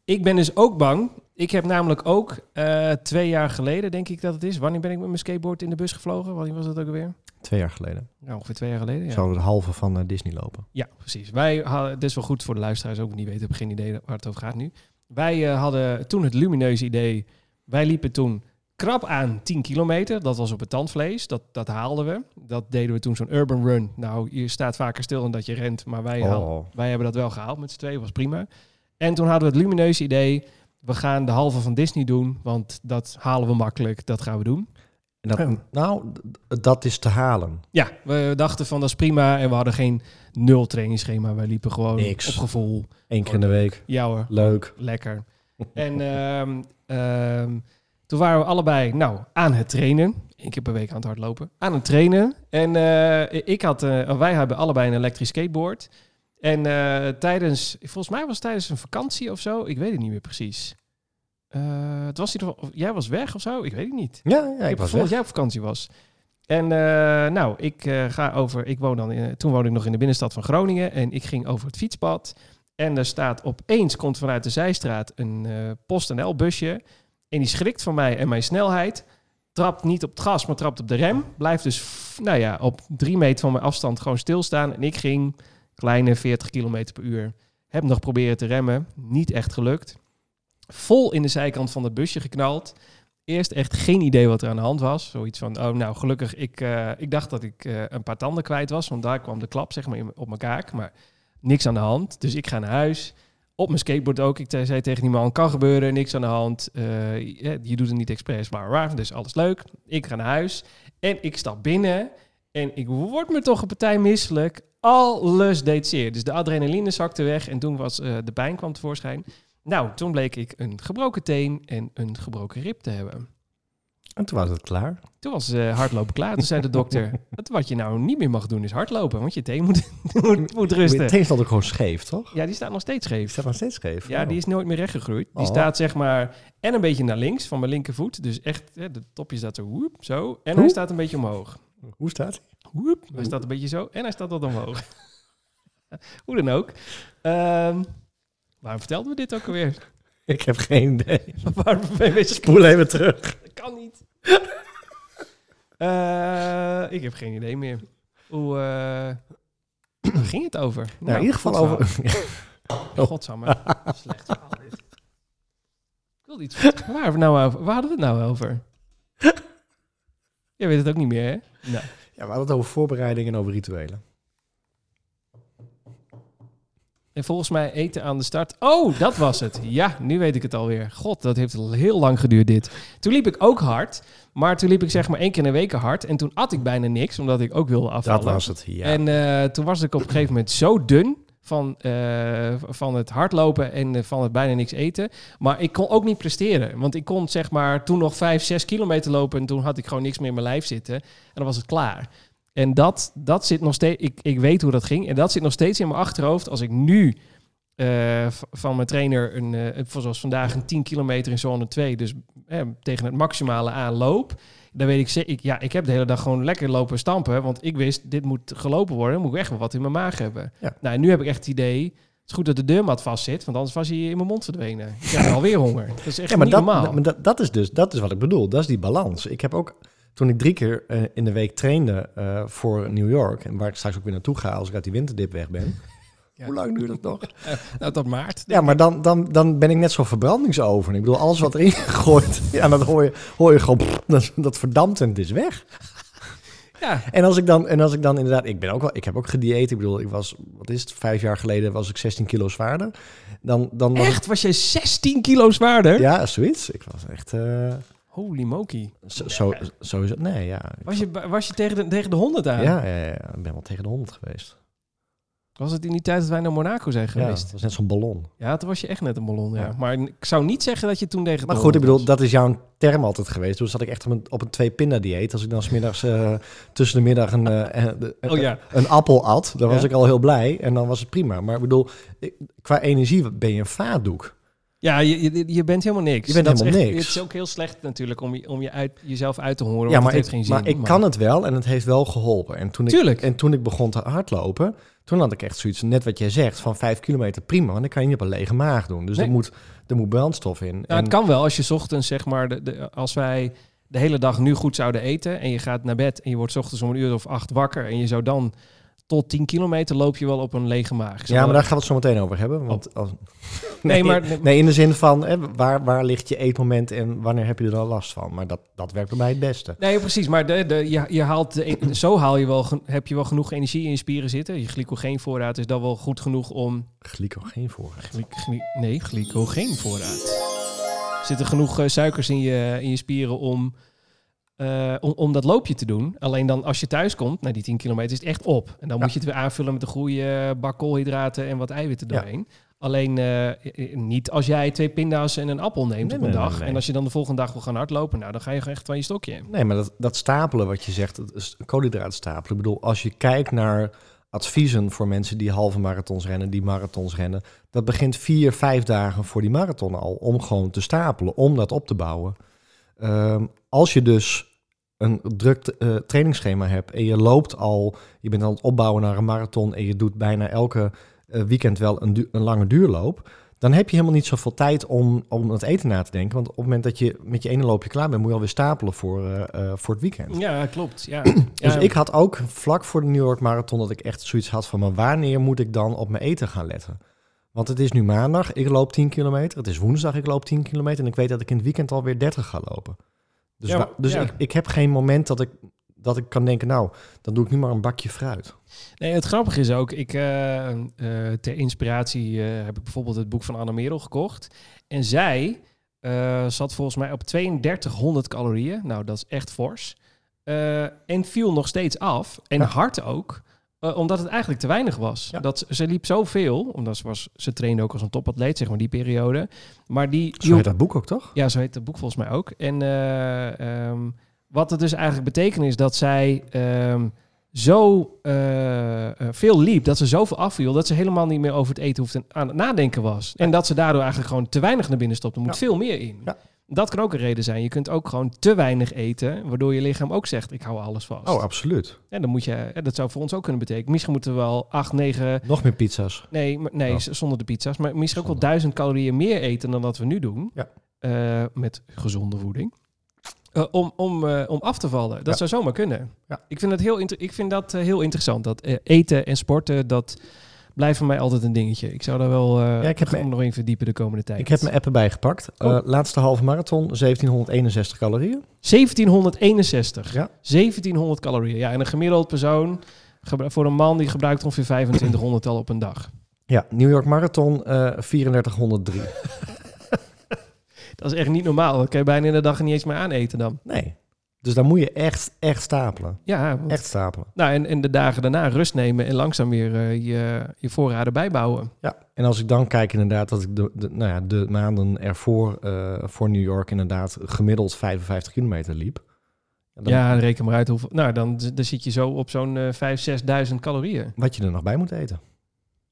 S1: Ik ben dus ook bang. Ik heb namelijk ook eh, twee jaar geleden, denk ik dat het is. Wanneer ben ik met mijn skateboard in de bus gevlogen? Wanneer was dat ook alweer?
S2: Twee jaar geleden.
S1: Nou, ongeveer twee jaar geleden. Ja,
S2: Zouden we de halve van eh, Disney lopen.
S1: ja precies. Wij hadden, het is wel goed voor de luisteraars ook die niet weten, hebben geen idee waar het over gaat nu. Wij eh, hadden toen het lumineuze idee. Wij liepen toen krap aan 10 kilometer. Dat was op het tandvlees. Dat, dat haalden we. Dat deden we toen zo'n urban run. Nou, je staat vaker stil dan dat je rent. Maar wij haalden
S2: Oh.
S1: wij hebben dat wel gehaald met z'n tweeën, was prima. En toen hadden we het lumineuze idee, we gaan de halve van Disney doen, want dat halen we makkelijk, dat gaan we doen.
S2: En dat, nou, d- dat is te halen.
S1: Ja, we dachten van dat is prima en we hadden geen nul trainingsschema, wij liepen gewoon
S2: Niks.
S1: op gevoel.
S2: Eén keer in de week.
S1: Ja hoor,
S2: Leuk.
S1: lekker. En ehm, ehm, toen waren we allebei nou, aan het trainen. Eén keer per week aan het hardlopen. Aan het trainen. En eh, ik had, eh, wij hebben allebei een elektrisch skateboard. En eh, tijdens, volgens mij was het tijdens een vakantie of zo. Ik weet het niet meer precies. Eh, het was in ieder geval, of jij was weg of zo? Ik weet het niet.
S2: Ja, ja ik,
S1: ik heb het
S2: was
S1: gevoel
S2: weg.
S1: dat jij op vakantie was. En eh, nou, ik eh, ga over. Ik woon dan in, toen woonde ik nog in de binnenstad van Groningen. En ik ging over het fietspad. En er staat opeens, komt vanuit de zijstraat een eh PostNL-busje. En die schrikt van mij en mijn snelheid. Trapt niet op het gas, maar trapt op de rem. Blijft dus, f- nou ja, op drie meter van mijn afstand gewoon stilstaan. En ik ging kleine 40 km per uur. Heb nog proberen te remmen. Niet echt gelukt. Vol in de zijkant van het busje geknald eerst echt geen idee wat er aan de hand was. Zoiets van, oh nou gelukkig, ik, eh, ik dacht dat ik eh, een paar tanden kwijt was. Want daar kwam de klap zeg maar in m- op mijn kaak. Maar niks aan de hand. Dus ik ga naar huis. Op mijn skateboard ook. Ik te- zei tegen die man, kan gebeuren, niks aan de hand. Eh, je, je doet het niet expres, maar waar. Dus alles leuk. Ik ga naar huis. En ik stap binnen. En ik word me toch een partij misselijk. Alles deed zeer. Dus de adrenaline zakte weg en toen was eh, de pijn kwam tevoorschijn. Nou, toen bleek ik een gebroken teen en een gebroken rib te hebben.
S2: En toen was het klaar.
S1: Toen was eh, hardlopen klaar. Toen zei de
S2: [LAUGHS]
S1: dokter, "Het wat je nou niet meer mag doen is hardlopen, want je teen moet, [LAUGHS] moet, moet
S2: Meteen
S1: rusten.
S2: stond ook gewoon scheef, toch?
S1: Ja, die staat nog steeds
S2: Die
S1: scheef.
S2: staat nog steeds scheef.
S1: Ja,
S2: Oh.
S1: die is nooit meer rechtgegroeid. Die
S2: Oh.
S1: staat zeg maar en een beetje naar links van mijn linkervoet. Dus echt, hè, de topje staat zo, woep, zo. En hij
S2: Hoe?
S1: staat een beetje omhoog.
S2: Oh, Hoe staat die?
S1: Woep, hij staat een beetje zo en hij staat wat omhoog. [LAUGHS] Hoe dan ook. Ehm, waarom vertelden we dit ook
S2: [LAUGHS]
S1: alweer?
S2: Ik heb geen idee.
S1: waarom [LAUGHS] ben je bezig?
S2: Spoel even terug.
S1: Dat kan niet. [LAUGHS] Eh, ik heb geen idee meer. Hoe eh, [CLEARS THROAT] waar ging het over? Nou,
S2: in ieder geval
S1: godsamme.
S2: over... Oh. [LAUGHS]
S1: Godsamme. Slecht verhaal dit. Ik wilde iets... Waar, hebben we nou over? waar hadden we het nou over? Jij weet het ook niet meer, hè? Nou.
S2: Ja, we hadden het over voorbereidingen en over rituelen.
S1: En volgens mij eten aan de start. Oh, dat was het. Ja, nu weet ik het alweer. God, dat heeft al heel lang geduurd dit. Toen liep ik ook hard. Maar toen liep ik zeg maar één keer in de week hard. En toen at ik bijna niks, omdat ik ook wilde afvallen.
S2: Dat was het, ja.
S1: En eh, toen was ik op een gegeven moment zo dun van, eh, van het hardlopen en eh, van het bijna niks eten. Maar ik kon ook niet presteren. Want ik kon zeg maar toen nog vijf, zes kilometer lopen... en toen had ik gewoon niks meer in mijn lijf zitten. En dan was het klaar. En dat, dat zit nog steeds... Ik, ik weet hoe dat ging. En dat zit nog steeds in mijn achterhoofd. Als ik nu eh, v- van mijn trainer, een, eh, voor zoals vandaag, een 10 kilometer in zone 2... dus eh, tegen het maximale aan loop... Dan weet ik zeker, ik- ja, ik heb de hele dag gewoon lekker lopen stampen. Want ik wist, dit moet gelopen worden. Dan moet ik echt wel wat in mijn maag hebben.
S2: Ja.
S1: Nou, en nu heb ik echt het idee. Het is goed dat de deurmat vast zit. Want anders was hij in mijn mond verdwenen. Ik heb alweer honger. Dat is echt
S2: ja, maar,
S1: niet
S2: dat,
S1: normaal.
S2: maar dat, dat is dus dat is wat ik bedoel. Dat is die balans. Ik heb ook, toen ik drie keer eh, in de week trainde eh, voor New York... en waar ik straks ook weer naartoe ga als ik uit die winterdip weg [LAUGHS] ben...
S1: Ja.
S2: Hoe lang duurt dat nog?
S1: Nou, tot maart.
S2: Ja, maar dan, dan, dan ben ik net zo'n verbrandingsoven. Ik bedoel, alles wat erin [LAUGHS] gegooid... Ja, dat hoor je, hoor je gewoon... pff, dat, dat verdampt en het is weg.
S1: Ja,
S2: En als ik dan, en als ik dan inderdaad, ik ben ook wel, ik heb ook gedieet. Ik bedoel, ik was, wat is het, vijf jaar geleden was ik 16 kilo zwaarder. Dan, dan was
S1: echt? Was jij 16 kilo zwaarder?
S2: Ik, ja, zoiets. Ik was echt, eh,
S1: Holy moky.
S2: zo, zo, zo is het. Nee, ja.
S1: Was je, was je tegen, de, tegen de 100 aan?
S2: Ja, ja, ja, ja. ik ben wel tegen de 100 geweest.
S1: Was het in die tijd dat wij naar Monaco zijn
S2: Ja,
S1: geweest?
S2: dat was net zo'n ballon.
S1: Ja, toen was je echt net een ballon. Ja.
S2: Ja.
S1: Maar ik zou niet zeggen dat je toen tegen de
S2: Maar goed, ik
S1: 100
S2: bedoel,
S1: was.
S2: dat is jouw term altijd geweest. Toen zat ik echt op een, op een twee-pinda-dieet. Als ik dan smiddags eh tussen de middag een, eh, een,
S1: Oh ja.
S2: een appel at, dan was
S1: Ja.
S2: ik al heel blij. En dan was het prima. Maar ik bedoel, ik- qua energie ben je een vaatdoek.
S1: Ja, je, je, je bent helemaal niks.
S2: Je bent
S1: Dat is
S2: helemaal
S1: echt-
S2: niks.
S1: Het is ook heel slecht natuurlijk om, je, om je uit, jezelf uit te horen. want
S2: Ja,
S1: het
S2: maar,
S1: heeft
S2: ik,
S1: geen zin.
S2: maar ik kan het wel en het heeft wel geholpen. En toen ik,
S1: Tuurlijk.
S2: En toen ik begon te hardlopen, toen had ik echt zoiets, net wat jij zegt, van vijf kilometer prima. Want dan kan je niet op een lege maag doen. Dus
S1: Nee.
S2: er, moet, er moet brandstof in.
S1: Nou,
S2: En-
S1: het kan wel als je 's ochtends, zeg maar, de, de- als wij de hele dag nu goed zouden eten en je gaat naar bed en je wordt 's ochtends om een uur of acht wakker en je zou dan tot 10 kilometer loop je wel op een lege maag. Is
S2: ja,
S1: wel- Oh.
S2: maar daar gaan we het zo meteen over hebben. Want als,
S1: Nee, maar-
S2: [LAUGHS] nee, in de zin van hè, waar, waar ligt je eetmoment en wanneer heb je er dan last van? Maar dat, dat werkt bij mij het beste.
S1: Nee, precies. Maar de, de, je, je haalt de, e-, zo haal je wel, gen- heb je wel genoeg energie in je spieren zitten. Je glycogeenvoorraad is dan wel goed genoeg om...
S2: Glycogeen voor.
S1: Gly, gly, nee, glycogeenvoorraad. Zitten genoeg eh, suikers in je, in je spieren om, eh, om, om dat loopje te doen. Alleen dan als je thuis komt, na die 10 kilometer, is het echt op. En dan
S2: Ja.
S1: moet je het weer aanvullen met een goede bak koolhydraten en wat eiwitten
S2: Ja.
S1: doorheen. Alleen eh, eh, niet als jij twee pinda's en een appel neemt
S2: Nee,
S1: op een
S2: nee,
S1: dag.
S2: nee, nee.
S1: En als je dan de volgende dag wil gaan hardlopen, nou, dan ga je gewoon echt van je stokje.
S2: Nee, maar dat, dat stapelen wat je zegt, dat is koolhydraten stapelen. Ik bedoel, als je kijkt naar adviezen voor mensen die halve marathons rennen, die marathons rennen, dat begint vier, vijf dagen voor die marathon al, om gewoon te stapelen, om dat op te bouwen. Ehm, als je dus een druk eh, trainingsschema hebt en je loopt al, je bent aan het opbouwen naar een marathon en je doet bijna elke eh, weekend wel een, du- een lange duurloop, dan heb je helemaal niet zoveel tijd om, om het eten na te denken. Want op het moment dat je met je ene loopje klaar bent, moet je alweer stapelen voor, eh, eh, voor het weekend.
S1: Ja, klopt. Ja.
S2: Dus
S1: Ja.
S2: ik had ook vlak voor de New York Marathon dat ik echt zoiets had van... maar wanneer moet ik dan op mijn eten gaan letten? Want het is nu maandag, ik loop 10 kilometer. Het is woensdag, ik loop 10 kilometer. En ik weet dat ik in het weekend alweer 30 ga lopen. Dus,
S1: Ja,
S2: wa- dus
S1: ja.
S2: ik, ik heb geen moment dat ik, dat ik kan denken... nou, dan doe ik nu maar een bakje fruit.
S1: Nee, het grappige is ook, ik, eh, eh, ter inspiratie eh, heb ik bijvoorbeeld het boek van Anne Merel gekocht. En zij eh, zat volgens mij op 3200 calorieën. Nou, dat is echt fors. eh, en viel nog steeds af. En
S2: Ja.
S1: hard ook. eh, omdat het eigenlijk te weinig was.
S2: Ja.
S1: Dat, ze- ze liep zoveel. Omdat ze, was, ze trainde ook als een topatleet, zeg maar, die periode. Maar die...
S2: Zo heet dat boek ook, toch?
S1: Ja, zo heet het boek volgens mij ook. En eh, ehm, wat het dus eigenlijk betekent is dat zij ehm, zo eh, eh, veel liep, dat ze zoveel afviel, dat ze helemaal niet meer over het eten hoefde en aan het nadenken was. En dat ze daardoor eigenlijk gewoon te weinig naar binnen stopt. Er moet
S2: Ja.
S1: veel meer in.
S2: Ja.
S1: Dat kan ook een reden zijn. Je kunt ook gewoon te weinig eten, waardoor je lichaam ook zegt, ik hou alles vast.
S2: Oh, absoluut.
S1: En dan moet je, en dat zou voor ons ook kunnen betekenen. Misschien moeten we wel acht, negen,
S2: Nog meer pizza's.
S1: nee, maar- nee
S2: Oh.
S1: z- zonder de pizza's, maar misschien ook wel
S2: Zonder.
S1: duizend calorieën meer eten dan wat we nu doen.
S2: Ja.
S1: Eh, met gezonde voeding. Eh, om, om, eh, om af te vallen. Dat zou zomaar kunnen.
S2: Ja.
S1: Ik vind dat, heel, inter- ik vind dat eh, heel interessant. Dat eh, eten en sporten, dat blijft voor mij altijd een dingetje. Ik zou daar wel eh
S2: Ja, ik heb
S1: me...
S2: me-
S1: nog in verdiepen de komende tijd.
S2: Ik heb mijn app erbij gepakt. Eh,
S1: Oh.
S2: laatste halve marathon, 1761 calorieën.
S1: 1761.
S2: Ja.
S1: 1700 calorieën. Ja, en een gemiddeld persoon, gebru- voor een man, die gebruikt ongeveer 2500 al op een dag.
S2: Ja, New York Marathon, eh 3403.
S1: Dat is echt niet normaal. Dat kan je bijna in de dag niet eens meer aaneten dan.
S2: Nee. Dus dan moet je echt, echt stapelen.
S1: Ja, want-
S2: Echt stapelen.
S1: Nou, en, en de dagen daarna rust nemen en langzaam weer eh, je, je voorraden bijbouwen.
S2: Ja. En als ik dan kijk inderdaad dat ik de, de, nou ja, de maanden ervoor eh, voor New York inderdaad gemiddeld 55 kilometer liep. Dan,
S1: Ja, reken maar uit hoeveel. Nou, dan, dan zit je zo op zo'n eh, 5.000, 6.000 calorieën.
S2: Wat je er nog bij moet eten.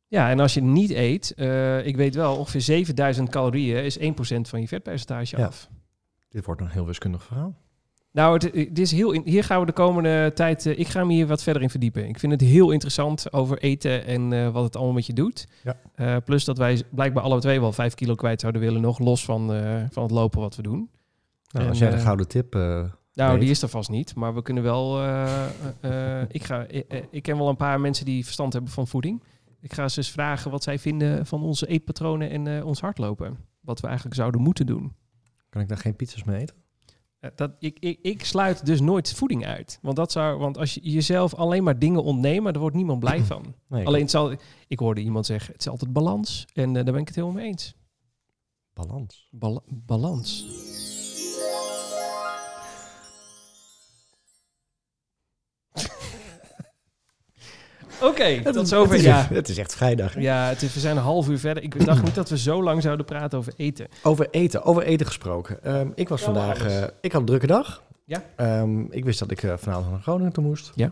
S1: Ja, en als je niet eet, eh, ik weet wel, ongeveer 7.000 calorieën is 1% van je vetpercentage
S2: Ja.
S1: af.
S2: Dit wordt een heel wiskundig verhaal.
S1: Nou, het, het is heel in- hier gaan we de komende tijd. eh, ik ga me hier wat verder in verdiepen. Ik vind het heel interessant over eten en eh, wat het allemaal met je doet.
S2: Ja.
S1: Eh, plus dat wij blijkbaar alle twee wel 5 kilo kwijt zouden willen, nog los van, eh, van het lopen wat we doen.
S2: Nou,
S1: En,
S2: als jij de
S1: eh,
S2: gouden tip... eh,
S1: Nou,
S2: weet.
S1: die is er vast niet. Maar we kunnen wel. eh, eh, eh, ik, ga, eh, eh, ik ken wel een paar mensen die verstand hebben van voeding. Ik ga ze eens vragen wat zij vinden van onze eetpatronen en eh, ons hardlopen. Wat we eigenlijk zouden moeten doen.
S2: kan ik daar geen pizzas mee eten?
S1: Eh, dat, ik, ik, ik sluit dus nooit voeding uit. Want, dat zou, want als je jezelf alleen maar dingen ontnemen, daar wordt niemand blij van.
S2: Nee, ik-
S1: alleen het zal, ik hoorde iemand zeggen, het is altijd balans. En eh, daar ben ik het helemaal mee eens.
S2: Balans.
S1: Bal- balans. [LAUGHS] Oké, dat is over.
S2: Het
S1: Ja,
S2: [LAUGHS] Het is echt vrijdag.
S1: ja het is, we zijn een half uur verder. Ik dacht niet dat we zo lang zouden praten over eten.
S2: Over eten, over eten gesproken. Ehm, ik was
S1: Ja,
S2: vandaag,
S1: maar
S2: eh,
S1: alles.
S2: ik had een drukke dag.
S1: Ja.
S2: Ehm, ik wist dat ik eh, vanavond naar Groningen toe moest.
S1: Maar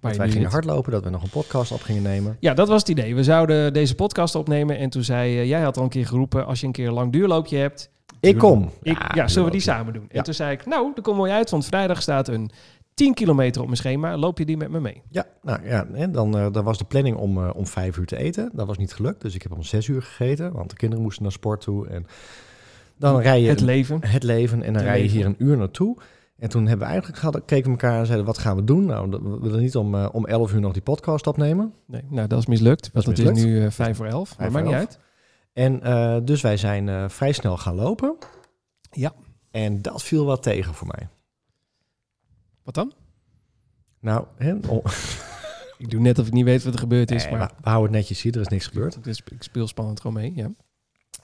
S2: dat wij gingen hardlopen, dat we nog een podcast op gingen nemen.
S1: Ja, dat was het idee. We zouden deze podcast opnemen. En toen zei je, jij had al een keer geroepen... als je een keer een lang duurloopje hebt...
S2: Ik kom.
S1: Ik, ja, zullen we die
S2: duurloopje.
S1: samen doen?
S2: Ja.
S1: En toen zei ik, nou, dat komt mooi uit... want vrijdag staat een 10 kilometer op mijn schema. Loop je die met me mee?
S2: Ja, nou ja, hè, dan, eh, dan was de planning om, eh, om vijf uur te eten. Dat was niet gelukt, dus ik heb om zes uur gegeten, want de kinderen moesten naar sport toe. En dan rij je
S1: Het leven.
S2: het leven en
S1: Het
S2: dan rij je
S1: leven.
S2: hier een uur naartoe. En toen hebben we eigenlijk gehad, keken we elkaar en zeiden, wat gaan we doen? Nou, we willen niet om, eh, om elf uur nog die podcast opnemen.
S1: Nee, nou, dat is mislukt. Want het is
S2: mislukt.
S1: nu eh, vijf voor elf. Maar
S2: Vijf
S1: maakt
S2: voor
S1: niet
S2: elf.
S1: uit.
S2: En eh, dus wij zijn eh, vrij snel gaan lopen.
S1: Ja.
S2: En dat viel wat tegen voor mij.
S1: Wat dan?
S2: Nou, hè, oh,
S1: Ik doe net of ik niet weet wat er gebeurd is.
S2: nee,
S1: maar
S2: we we houden het netjes hier, er is niks gebeurd.
S1: Ik speel- Ik speel spannend gewoon mee. Ja.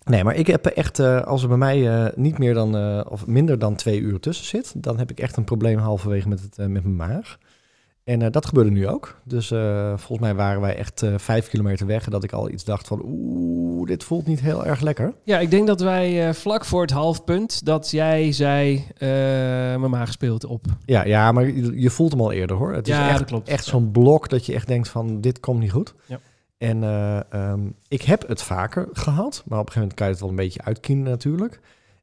S2: Nee, maar ik heb echt, eh, als er bij mij eh, niet meer dan, eh, of minder dan twee uur tussen zit, dan heb ik echt een probleem halverwege met, het, eh, met mijn maag. En eh, dat gebeurde nu ook. Dus eh, volgens mij waren wij echt eh, vijf kilometer weg en dat ik al iets dacht van, oeh, dit voelt niet heel erg lekker.
S1: ja, ik denk dat wij eh, vlak voor het halfpunt... dat jij zei, eh mijn maag speelt op.
S2: Ja, ja maar je, je voelt hem al eerder hoor. Het
S1: Ja,
S2: is echt,
S1: dat klopt.
S2: echt
S1: Ja.
S2: zo'n blok dat je echt denkt van, dit komt niet goed.
S1: Ja.
S2: En eh, ehm, ik heb het vaker gehad, maar op een gegeven moment kan je het wel een beetje uitkiezen natuurlijk.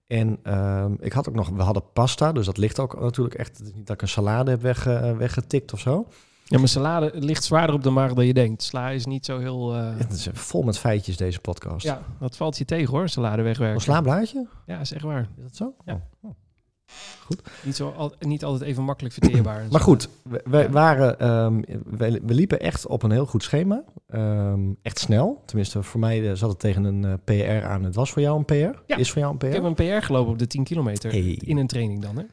S2: En ehm, ik had ook nog, we hadden pasta, dus dat ligt ook natuurlijk echt. Het is niet dat ik een salade heb weg, eh, weggetikt of zo.
S1: Ja, maar salade ligt zwaarder op de maag dan je denkt. Sla is niet zo heel... eh,
S2: Het is vol met feitjes deze podcast.
S1: ja, dat valt je tegen hoor, salade wegwerken.
S2: Een slaablaadje,
S1: Ja, is echt waar.
S2: is dat zo?
S1: Ja.
S2: Oh.
S1: Niet, zo al, niet altijd even makkelijk verteerbaar.
S2: [CLEARS THROAT] Maar goed, we, we
S1: Ja.
S2: waren, ehm, we, we liepen echt op een heel goed schema. Ehm, echt snel. Tenminste, voor mij eh, zat het tegen een eh, PR aan. Het was voor jou een PR?
S1: Ja.
S2: Is voor jou een PR?
S1: Ik heb een PR gelopen op de 10 kilometer.
S2: Hey.
S1: In een training dan, hè?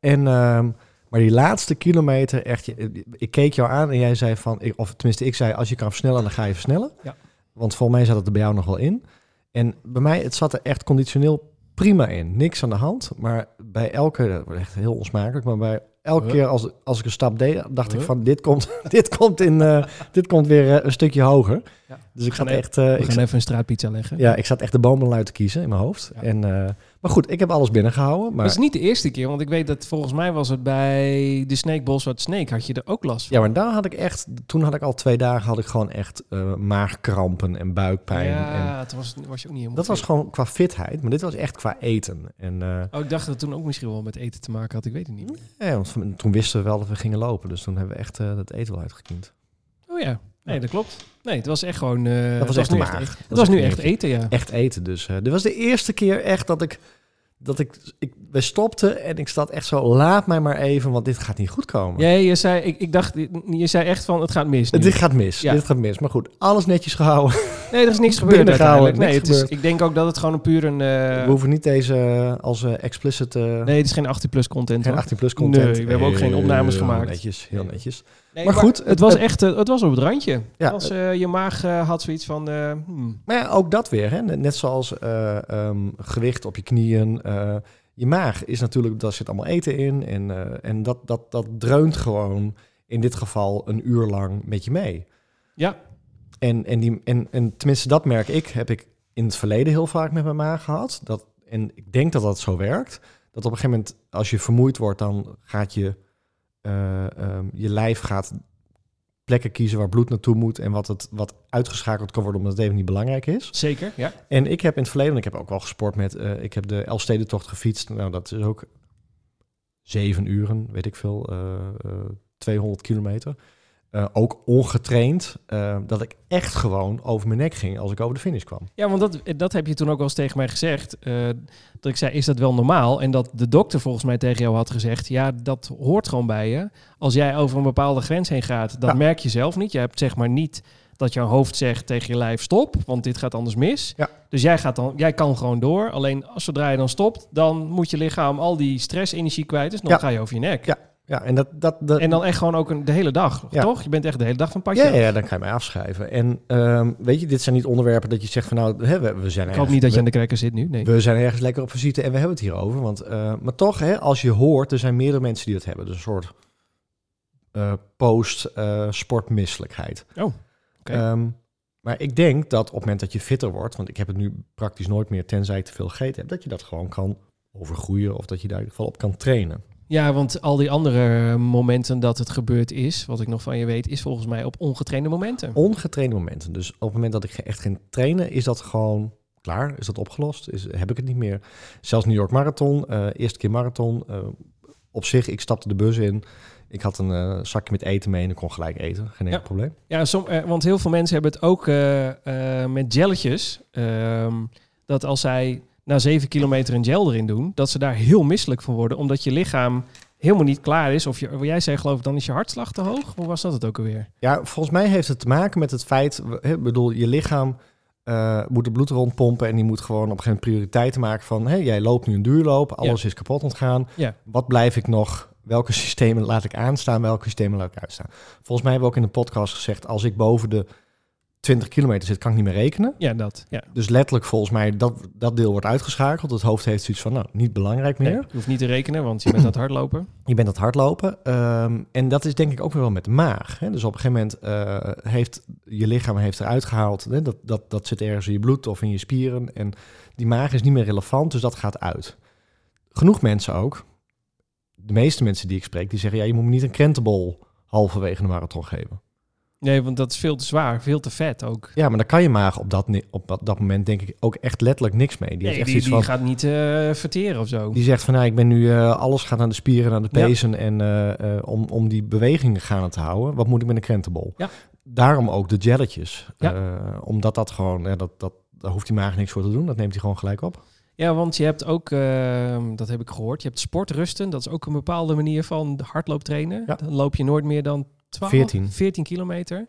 S2: En, ehm, maar die laatste kilometer, echt, je- ik keek jou aan en jij zei van, ik- of tenminste ik zei, als je kan versnellen, dan ga je versnellen.
S1: Ja.
S2: Want volgens mij zat het er bij jou nog wel in. En bij mij, het zat er echt conditioneel prima in. Niks aan de hand, maar bij elke, dat wordt echt heel onsmakelijk, maar bij Elke
S1: Huh?
S2: keer als, als ik een stap deed, dacht ik
S1: Huh?
S2: van dit komt, [LAUGHS] dit komt, in, eh, dit komt weer eh, een stukje hoger.
S1: Ja.
S2: Dus ik
S1: gaan
S2: zat
S1: e-
S2: echt, eh,
S1: We
S2: ik,
S1: gaan
S2: zat-
S1: even een straatpizza leggen.
S2: ja, ik zat echt de bomen uit te kiezen in mijn hoofd.
S1: Ja.
S2: En, eh, maar goed, ik heb alles binnengehouden. Maar,
S1: Dat is niet de eerste keer, want ik weet dat volgens mij was het bij de Snake Bosward Snake had je er ook last van.
S2: ja, maar daar had ik echt, toen had ik al twee dagen had ik gewoon echt eh, maagkrampen en buikpijn. En
S1: Ja, toen was, was je ook niet helemaal
S2: dat was
S1: fit.
S2: gewoon qua fitheid, maar dit was echt qua eten. En eh,
S1: Oh, ik dacht dat het toen ook misschien wel met eten te maken had. Ik weet het niet. meer.
S2: ja, want van- toen wisten we wel dat we gingen lopen, dus toen hebben we echt eh dat eten wel uitgekiend.
S1: Oh ja, nee,
S2: Ja.
S1: dat klopt. Nee, het was echt gewoon... eh,
S2: dat was
S1: het
S2: echt
S1: nu
S2: maag.
S1: Het was nu echt
S2: eten.
S1: eten, ja.
S2: echt eten. Dus eh dit was de eerste keer echt dat ik. Dat ik, ik. We stopten en ik zat echt zo. Laat mij maar even, want dit gaat niet goed komen.
S1: Jij, je zei, ik, ik dacht, je zei echt van, het gaat mis nu.
S2: Dit gaat mis.
S1: Ja.
S2: Dit gaat mis. Maar goed, alles netjes gehouden.
S1: Nee, er is
S2: [LAUGHS]
S1: niks gebeurd
S2: Binnengehouden,
S1: uiteindelijk. Nee,
S2: niks
S1: het is,
S2: gebeurd.
S1: ik denk ook dat het gewoon een puur een... eh,
S2: we hoeven niet deze eh, als eh, explicit. eh,
S1: nee, het is geen 18-plus content.
S2: geen
S1: hoor.
S2: 18 plus content.
S1: Nee, we hebben ook geen
S2: Heel
S1: opnames gemaakt.
S2: Netjes, heel netjes.
S1: Nee,
S2: maar goed,
S1: het,
S2: het-
S1: was
S2: het-
S1: echt eh, het was op het randje.
S2: Ja,
S1: Als, eh, je maag eh, had zoiets van... eh, hmm.
S2: Maar ja, ook dat weer. Hè? Net zoals eh, ehm, gewicht op je knieën. eh, je maag is natuurlijk, daar zit allemaal eten in. En, eh, en dat, dat, dat dreunt gewoon in dit geval een uur lang met je mee.
S1: Ja.
S2: En, en, die, en, en tenminste, dat merk ik, heb ik in het verleden heel vaak met mijn maag gehad. Dat, en ik denk dat dat zo werkt. Dat op een gegeven moment, als je vermoeid wordt, dan gaat je, eh, ehm, je lijf gaat plekken kiezen waar bloed naartoe moet en wat, het, wat uitgeschakeld kan worden omdat het even niet belangrijk is.
S1: Zeker, ja.
S2: En ik heb in het verleden, want ik heb ook wel gesport met, eh, ik heb de Elfstedentocht gefietst. Nou, dat is ook zeven uren, weet ik veel, eh, eh, 200 kilometer. Eh, ook ongetraind, eh, dat ik echt gewoon over mijn nek ging als ik over de finish kwam.
S1: Ja, want dat, eh, dat heb je toen ook wel eens tegen mij gezegd. eh, dat ik zei, is dat wel normaal? En dat de dokter volgens mij tegen jou had gezegd... ja, dat hoort gewoon bij je. Als jij over een bepaalde grens heen gaat, dat
S2: Ja.
S1: merk je zelf niet. Je hebt zeg maar niet dat jouw hoofd zegt tegen je lijf... stop, want dit gaat anders mis.
S2: Ja.
S1: Dus jij, gaat dan, jij kan gewoon door. Alleen als zodra je dan stopt, dan moet je lichaam al die stressenergie kwijt. Dus dan
S2: Ja.
S1: ga je over je nek.
S2: Ja. Ja, en dat... dat, dat
S1: En dan echt gewoon ook een, de hele dag,
S2: Ja.
S1: toch? Je bent echt de hele dag van padje.
S2: ja, ja, dan kan je mij afschrijven. En ehm, weet je, dit zijn niet onderwerpen dat je zegt van nou, hè, we, we zijn
S1: Ik
S2: ergens-
S1: hoop niet dat je
S2: we-
S1: aan de cracker zit nu. Nee.
S2: We zijn ergens lekker op visite en we hebben het hierover. Want, eh, maar toch, hè, als je hoort, er zijn meerdere mensen die dat hebben. Dus een soort eh, post-sportmisselijkheid.
S1: Oh, oké.
S2: Ehm, maar ik denk dat op het moment dat je fitter wordt, want ik heb het nu praktisch nooit meer, tenzij ik te veel gegeten heb, dat je dat gewoon kan overgroeien of dat je daar in ieder geval op kan trainen.
S1: Ja, want al die andere momenten dat het gebeurd is, wat ik nog van je weet, is volgens mij op ongetrainde momenten.
S2: Ongetrainde momenten. Dus op het moment dat ik ge- echt ging trainen, is dat gewoon klaar? Is dat opgelost? Is, heb ik het niet meer? Zelfs New York Marathon, eh, eerste keer marathon. eh, op zich, ik stapte de bus in. Ik had een eh, zakje met eten mee en ik kon gelijk eten. Geen enkel
S1: Ja.
S2: probleem.
S1: Ja, som, eh, want heel veel mensen hebben het ook eh, eh, met jelletjes. ehm, dat als zij na zeven kilometer een gel erin doen, dat ze daar heel misselijk van worden. Omdat je lichaam helemaal niet klaar is. Of je, jij zei geloof ik, dan is je hartslag te hoog. Hoe was dat het ook alweer?
S2: Ja, volgens mij heeft het te maken met het feit... hè, Ik bedoel, je lichaam eh, moet het bloed rondpompen... en die moet gewoon op geen prioriteiten maken van... hé, jij loopt nu een duurloop, alles is kapot ontgaan.
S1: Ja.
S2: Wat blijf ik nog... Welke systemen laat ik aanstaan, welke systemen laat ik uitstaan? Volgens mij hebben we ook in de podcast gezegd... als ik boven de 20 kilometer zit, kan ik niet meer rekenen.
S1: Ja, dat. Ja.
S2: Dus letterlijk volgens mij, dat, dat deel wordt uitgeschakeld. Het hoofd heeft zoiets van, nou, niet belangrijk meer.
S1: Nee, je hoeft niet te rekenen, want je bent aan het hardlopen.
S2: Je bent aan het hardlopen. Ehm, en dat is denk ik ook weer wel met de maag. Hè? Dus op een gegeven moment eh, heeft je lichaam heeft eruit gehaald. Hè? Dat, dat, dat zit ergens in je bloed of in je spieren. En die maag is niet meer relevant, dus dat gaat uit. Genoeg mensen ook. De meeste mensen die ik spreek, die zeggen... ja, je moet me niet een krentenbol halverwege de marathon geven.
S1: Nee, want dat is veel te zwaar, veel te vet ook.
S2: Ja, maar dan kan je maag op dat, ni- op dat- dat moment denk ik ook echt letterlijk niks mee. Die heeft
S1: Nee,
S2: echt
S1: die,
S2: iets
S1: die
S2: van...
S1: gaat niet eh, verteren of zo.
S2: Die zegt van, nou, ik ben nu, eh, alles gaat aan de spieren, aan de
S1: Ja.
S2: pezen en eh, eh, om, om die bewegingen gaande te houden. Wat moet ik met een krentenbol?
S1: Ja.
S2: Daarom ook de jelletjes.
S1: Ja.
S2: Eh, omdat dat gewoon, ja, dat, dat, daar hoeft die maag niks voor te doen. Dat neemt hij gewoon gelijk op.
S1: Ja, want je hebt ook, ehm, dat heb ik gehoord, je hebt sportrusten. Dat is ook een bepaalde manier van hardlooptrainen.
S2: Ja.
S1: Dan loop je nooit meer dan 12,
S2: 14.
S1: 14 kilometer.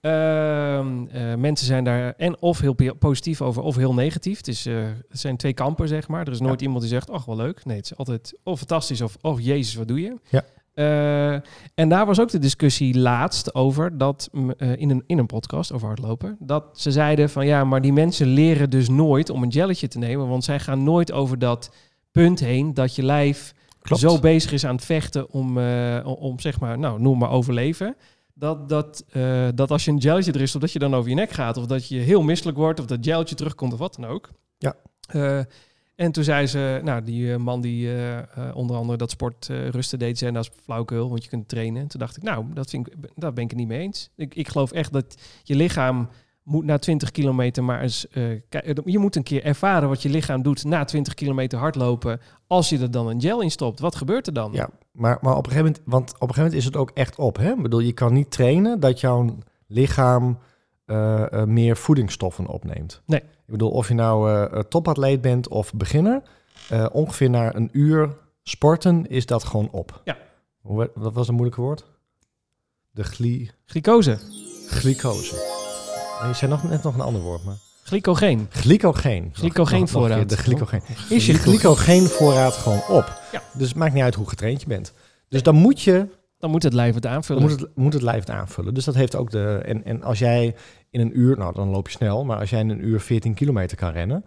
S1: Ehm, eh, mensen zijn daar en of heel pe- positief over of heel negatief. Het, is, eh, het zijn twee kampen, zeg maar. Er is nooit iemand die zegt, ach, wel leuk. Nee, het is altijd of fantastisch of, of jezus, wat doe je?
S2: Ja.
S1: Eh, en daar was ook de discussie laatst over dat m, eh, in, een, in een podcast over hardlopen. Dat ze zeiden van ja, maar die mensen leren dus nooit om een jelletje te nemen. Want zij gaan nooit over dat punt heen dat je lijf
S2: Klopt.
S1: zo bezig is aan het vechten om, eh, om- om zeg maar, nou, noem maar overleven. Dat, dat, eh, dat als je een geltje er is, of dat je dan over je nek gaat, of dat je heel misselijk wordt, of dat geltje terugkomt, of wat dan ook.
S2: Ja.
S1: Eh, en toen zei ze, nou, die eh, man die eh, eh, onder andere dat sport eh, rusten deed, zei dat is flauwkeul, want je kunt trainen. Toen dacht ik, nou, dat, vind ik, dat ben ik het niet mee eens. Ik, ik geloof echt dat je lichaam moet na 20 kilometer maar eens... eh, ki- je moet een keer ervaren wat je lichaam doet na 20 kilometer hardlopen. Als je er dan een gel in stopt, wat gebeurt er dan?
S2: Ja. Maar, maar op, een gegeven moment, want op een gegeven moment is het ook echt op. Hè? Ik bedoel, je kan niet trainen dat jouw lichaam eh, eh, meer voedingsstoffen opneemt.
S1: Nee.
S2: Ik bedoel, of je nou eh, eh, topatleet bent of beginner, eh, ongeveer na een uur sporten is dat gewoon op.
S1: Ja.
S2: Hoe, werd- wat was het moeilijke woord? De gly,
S1: Glycose,
S2: glycose. Nee, je zei nog, net nog een ander woord, maar...
S1: glycogeen.
S2: Glycogeen.
S1: Glycogeenvoorraad.
S2: Nog een keer, De glycogeen. Is je glycogeenvoorraad gewoon op?
S1: Ja.
S2: Dus het maakt niet uit hoe getraind je bent. Dus dan moet je
S1: Dan moet het lijf het
S2: dan
S1: aanvullen.
S2: moet het, moet het lijf het aanvullen. Dus dat heeft ook de. En, en als jij in een uur, nou dan loop je snel, maar als jij in een uur 14 kilometer kan rennen,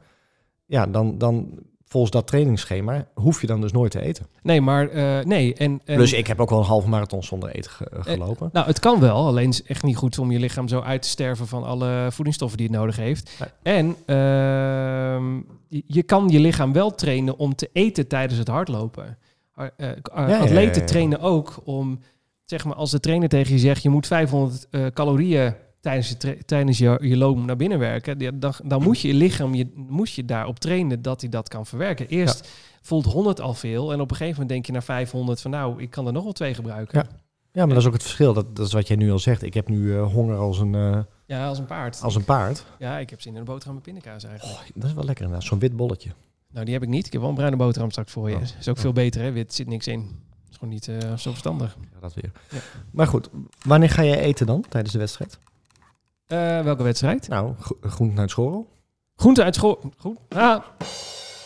S2: ja, dan, dan volgens dat trainingsschema hoef je dan dus nooit te eten.
S1: Nee, maar eh, nee. En, en,
S2: dus ik heb ook wel een halve marathon zonder eten ge- gelopen.
S1: Nou, het kan wel. Alleen is het echt niet goed om je lichaam zo uit te sterven van alle voedingsstoffen die het nodig heeft. En ehm, je- je kan je lichaam wel trainen om te eten tijdens het hardlopen. Ar- eh, k- eh,
S2: ja, ja,
S1: atleten
S2: ja.
S1: trainen ook om, zeg maar, als de trainer tegen je zegt, je moet 500 eh, calorieën tijdens je, tra- tijdens je, je loop naar binnen werken, die- dan, dan moet je je lichaam je, moest je daarop trainen dat hij dat kan verwerken. Eerst voelt 100 al veel en op een gegeven moment denk je naar 500 van nou, ik kan er nog wel twee gebruiken.
S2: Ja. ja, maar dat is ook het verschil. Dat, dat is wat jij nu al zegt. Ik heb nu eh, honger als een, eh,
S1: Ja, als een paard.
S2: als een paard.
S1: Ja, ik heb zin in een boterham met pindakaas eigenlijk.
S2: Oh, dat is wel lekker inderdaad. Zo'n wit bolletje.
S1: Nou, die heb ik niet. Ik heb wel een bruine boterham straks voor je.
S2: Oh.
S1: Is ook veel beter, hè? Wit zit niks in. Is gewoon niet eh, zo verstandig.
S2: Ja, dat weer.
S1: Ja.
S2: Maar goed, wanneer ga jij eten dan tijdens de wedstrijd?
S1: Eh, welke wedstrijd?
S2: Nou, gro- groenten uit schorrel.
S1: Groente uit school. Goed. Ah.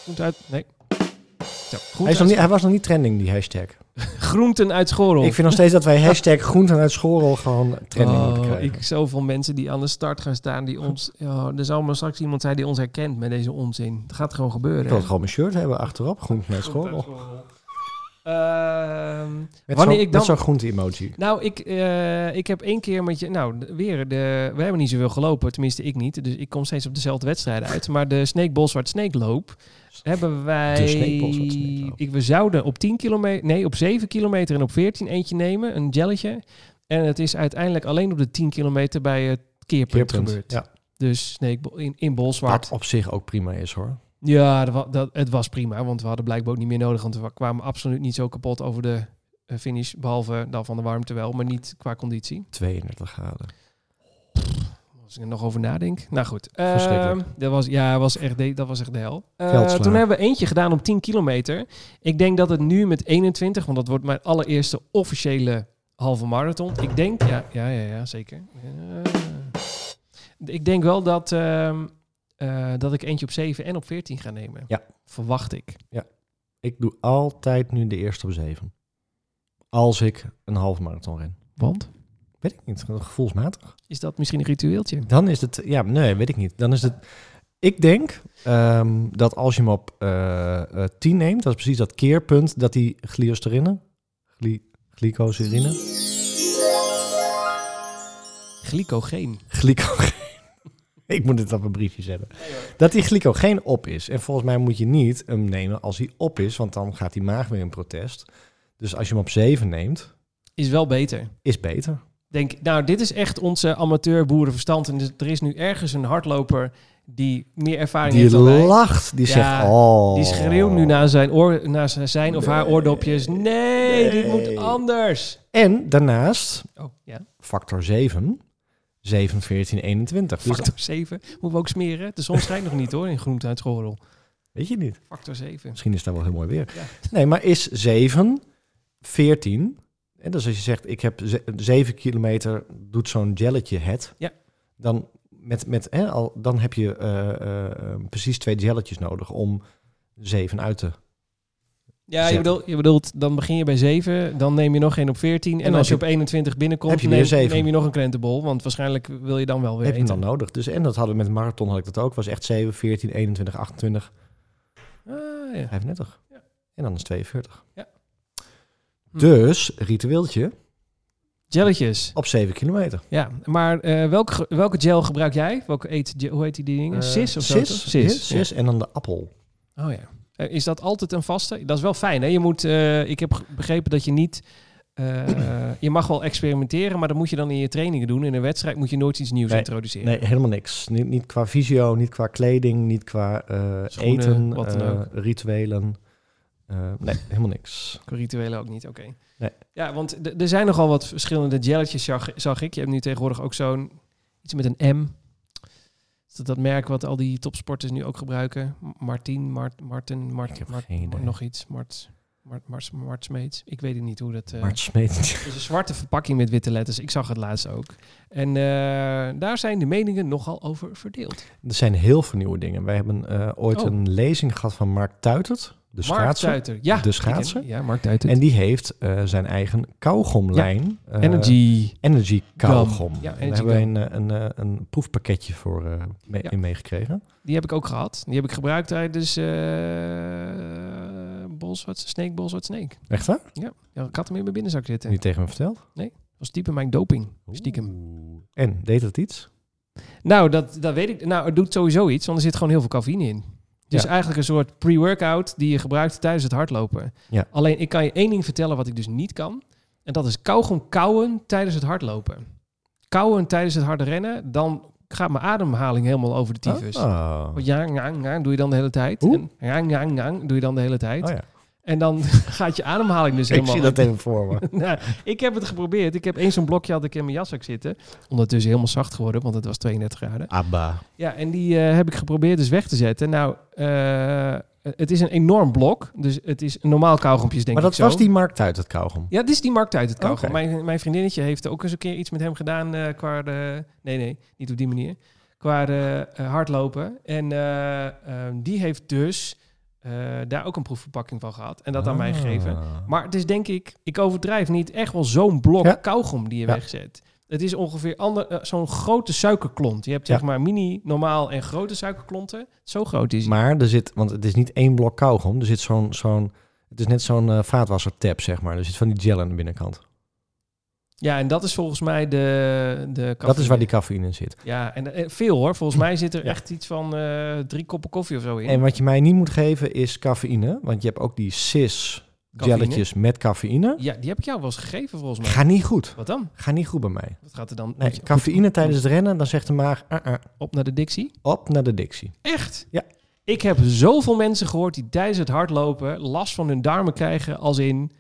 S1: Groente uit. Nee. Zo, groente
S2: Hij, is nog
S1: uit-
S2: niet, hij was nog niet trending, die hashtag.
S1: Groenten uit Schorel.
S2: Ik vind nog steeds dat
S1: [LAUGHS]
S2: wij hashtag groenten uit Schorel gewoon trending moeten
S1: Oh,
S2: krijgen.
S1: ik zoveel mensen die aan de start gaan staan, die
S2: [LAUGHS]
S1: ons. Ja, er zal maar straks iemand zijn die ons herkent met deze onzin. Het gaat gewoon
S2: Ik
S1: gebeuren.
S2: wil
S1: hè?
S2: gewoon mijn shirt hebben achterop, groenten uit
S1: Groente uit
S2: Schorel.
S1: Schorel. Ehm,
S2: Met
S1: Wanneer
S2: zo'n-
S1: ik dan-
S2: Met zo'n groente-emoji.
S1: Nou, ik, eh, ik heb één keer met je... Nou, de- weer, de, we hebben niet zoveel gelopen. Tenminste, ik niet. Dus ik kom steeds op dezelfde wedstrijden uit. Maar de Snake Bolsward Snake Loop hebben wij...
S2: De Snake Bolsward Snake Loop.
S1: Ik, we zouden op 10 kilometer... Nee, op 7 kilometer en op 14 eentje nemen. Een jelletje. En het is uiteindelijk alleen op de 10 kilometer bij het keerpunt,
S2: Keerpunt,
S1: gebeurd.
S2: Ja,
S1: Dus Snake Bol- in, in Bolsward.
S2: wat op zich ook prima is hoor.
S1: Ja, dat, wa- dat, het was prima. Want we hadden blijkbaar ook niet meer nodig. Want we kwamen absoluut niet zo kapot over de eh, finish. Behalve dan van de warmte wel. Maar niet qua conditie.
S2: 32 graden.
S1: Als ik er nog over nadenk. Nou goed. ehm,
S2: Verschrikkelijk.
S1: dat was, ja, was echt de, dat was echt de hel. Eh,
S2: Veldslaan.
S1: toen hebben we eentje gedaan op 10 kilometer. Ik denk dat het nu met 21, want dat wordt mijn allereerste officiële halve marathon. Ik denk, ja, ja, ja, ja zeker. Eh, ik denk wel dat, ehm, eh, dat ik eentje op 7 en op 14 ga nemen.
S2: Ja.
S1: Verwacht ik.
S2: Ik doe altijd nu de eerste op 7. Als ik een halve marathon ren.
S1: Want?
S2: Weet ik niet, gevoelsmatig.
S1: Is dat misschien een ritueeltje?
S2: Dan is het, ja, nee, weet ik niet. Dan is het, ik denk ehm, dat als je hem op eh eh 10 neemt, dat is precies dat keerpunt dat die gliosterine, gly, glycoserine,
S1: Glycogeen.
S2: glycogeen. [LAUGHS] ik moet het op een briefje zetten. Dat die glycogeen op is. En volgens mij moet je niet hem nemen als hij op is, want dan gaat die maag weer in protest. Dus als je hem op 7 neemt,
S1: Is wel beter.
S2: is beter.
S1: denk, nou, dit is echt onze amateur boerenverstand. En er is nu ergens een hardloper die meer ervaring
S2: Die
S1: heeft dan wij.
S2: lacht, die
S1: Ja,
S2: zegt, oh.
S1: Die schreeuwt nu naar zijn, oor, naar zijn- zijn of haar
S2: Nee.
S1: oordopjes. Nee, dit moet
S2: Nee.
S1: anders.
S2: En daarnaast,
S1: Oh,
S2: [LAUGHS]
S1: ja.
S2: factor 7, 7, 14, 21. Dus
S1: Factor 7. Moeten we ook smeren? De zon schijnt nog niet hoor, in groente uit Schorrel.
S2: Weet je niet.
S1: Factor 7.
S2: Misschien is dat wel heel mooi weer.
S1: Ja.
S2: Nee, maar is 7, 14. En dus als je zegt, ik heb ze- 7 kilometer, doet zo'n jelletje het.
S1: Ja.
S2: Dan, met, met, hè, al, dan heb je eh, eh, precies twee jelletjes nodig om 7 uit te...
S1: Oh Ja, je
S2: Zeven.
S1: bedoelt, je bedoelt, dan begin je bij 7, dan neem je nog één op 14. En,
S2: dan
S1: als je
S2: heb
S1: op 21
S2: heb
S1: binnenkomt,
S2: je weer
S1: neem,
S2: zeven.
S1: neem je nog een krentenbol. Want waarschijnlijk wil je dan wel weer
S2: heb je
S1: eten.
S2: dan nodig. Dus, en dat hadden we met de marathon, had ik dat ook. was echt 7, 14, 21, 28,
S1: Ah, ja.
S2: 35.
S1: Ja. Hm.
S2: En dan is 42.
S1: Ja.
S2: Dus, ritueeltje,
S1: Jelletjes.
S2: op 7 kilometer.
S1: Ja, maar eh, welke, ge- welke gel gebruik jij? Welke eet, ge- hoe heet die dingen?
S2: Eh,
S1: Sis of zo? toch?
S2: Sis, sis,
S1: Sis.
S2: sis en dan de appel.
S1: Ja. Oh ja. Eh, is dat altijd een vaste? Dat is wel fijn, hè? Je moet, eh, ik heb ge- begrepen dat je niet... eh, je mag wel experimenteren, maar dat moet je dan in je trainingen doen. In een wedstrijd moet je nooit iets nieuws
S2: Nee,
S1: introduceren.
S2: Nee, helemaal niks. Niet, niet qua visio, niet qua kleding, niet qua eh,
S1: Schoenen,
S2: eten,
S1: wat dan
S2: eh,
S1: ook.
S2: rituelen. Eh, nee, helemaal niks.
S1: Qua Rituelen ook niet, oké.
S2: Nee.
S1: Ja, want d- er zijn nogal wat verschillende jelletjes, zag, zag ik. Je hebt nu tegenwoordig ook zo'n, iets met een M. Is dat dat merk wat al die topsporters nu ook gebruiken? M- Martin, Mart, Martin,
S2: Ik
S1: Mart,
S2: heb
S1: Mart,
S2: geen idee.
S1: nog iets. Mart, Mart, Mart, Mart Smeets. Ik weet het niet hoe dat... eh,
S2: Maar het smeet. [LAUGHS]
S1: het is een zwarte verpakking met witte letters. Ik zag het laatst ook. En eh, daar zijn de meningen nogal over verdeeld.
S2: Er zijn heel veel nieuwe dingen. Wij hebben eh, ooit
S1: Oh.
S2: een lezing gehad van Mark Tuitert, de
S1: Mark
S2: schaatser.
S1: Tuiter. Ja,
S2: De
S1: ik ken-
S2: schaatser.
S1: Ja, Mark Tuiter.
S2: En die heeft eh, zijn eigen kauwgomlijn. eh,
S1: Energy.
S2: Energy kauwgom.
S1: Ja,
S2: Ja,
S1: Energy
S2: Daar hebben we een, eh, een, eh, een proefpakketje voor eh, mee-
S1: Ja.
S2: in meegekregen.
S1: Die heb ik ook gehad. Die heb ik gebruikt tijdens eh Bolsward, Snake, Bolsward, Snake.
S2: Echt waar?
S1: Ja, ik had hem in mijn binnenzak zitten.
S2: Niet tegen me verteld?
S1: Dat was diep in mijn doping. Stiekem.
S2: Oeh. En, deed het iets?
S1: Nou, dat, dat weet ik. Nou, het doet sowieso iets, want er zit gewoon heel veel cafeïne in. Dus
S2: Ja.
S1: eigenlijk een soort pre-workout die je gebruikt tijdens het hardlopen.
S2: Ja.
S1: Alleen, ik kan je één ding vertellen wat ik dus niet kan. En dat is kauwgom kauwen tijdens het hardlopen. Kauwen tijdens het harde rennen, dan gaat mijn ademhaling helemaal over de tyfus.
S2: Oh.
S1: Want Ja, ja, ja, doe je dan de hele tijd.
S2: Hoe?
S1: En ja, ja, ja, doe je dan de hele tijd.
S2: Oh ja.
S1: En dan [LAUGHS] gaat je ademhaling dus helemaal...
S2: Ik zie [LAUGHS] dat even
S1: [LAUGHS]
S2: voor me.
S1: Nou, ik heb het geprobeerd. Ik heb eens zo'n blokje had ik in mijn jaszak zitten. Ondertussen helemaal zacht geworden, want het was 32 graden.
S2: Abba.
S1: Ja, en die eh, heb ik geprobeerd dus weg te zetten. Nou, eh, het is een enorm blok. Dus het is een normaal kauwgompjes, denk
S2: Maar
S1: ik
S2: dat
S1: zo.
S2: was die markt uit het kauwgom.
S1: Ja, dit is die markt uit het kauwgom.
S2: Oké.
S1: Mijn, mijn vriendinnetje heeft ook eens een keer iets met hem gedaan eh, qua de... Nee, nee, niet op die manier. Qua de eh, hardlopen. En eh, eh, die heeft dus eh, daar ook een proefverpakking van gehad. En dat aan
S2: Ah.
S1: mij gegeven. Maar het is denk ik, ik overdrijf niet, echt wel zo'n blok
S2: Ja.
S1: kauwgom die je
S2: Ja.
S1: wegzet. Het is ongeveer ander, eh, zo'n grote suikerklont. Je hebt
S2: Ja.
S1: zeg maar mini, normaal en grote suikerklonten. Zo groot is die.
S2: Maar er zit, want het is niet één blok kauwgom, er zit zo'n, zo'n het is net zo'n eh, vaatwassertap, zeg maar. Er zit van die gel aan de binnenkant.
S1: Ja, en dat is volgens mij de, de
S2: Dat is
S1: cafeïne.
S2: waar die cafeïne in zit.
S1: Ja, en eh, veel hoor. Volgens mij zit er
S2: Ja.
S1: echt iets van eh, drie koppen koffie of zo in.
S2: En wat je mij niet moet geven is cafeïne, want je hebt ook die cis
S1: Cafeïne?
S2: gelletjes met cafeïne.
S1: Ja, die heb ik jou wel eens gegeven volgens mij.
S2: Ga niet goed.
S1: Wat dan?
S2: Ga niet goed bij mij.
S1: Wat gaat er dan? Moet
S2: Nee,
S1: je
S2: cafeïne tijdens het rennen, dan zegt de maag ah, ah,
S1: Op naar de Dixie?
S2: op naar de dictie.
S1: Echt?
S2: Ja.
S1: Ik heb zoveel mensen gehoord die tijdens het hardlopen last van hun darmen krijgen als in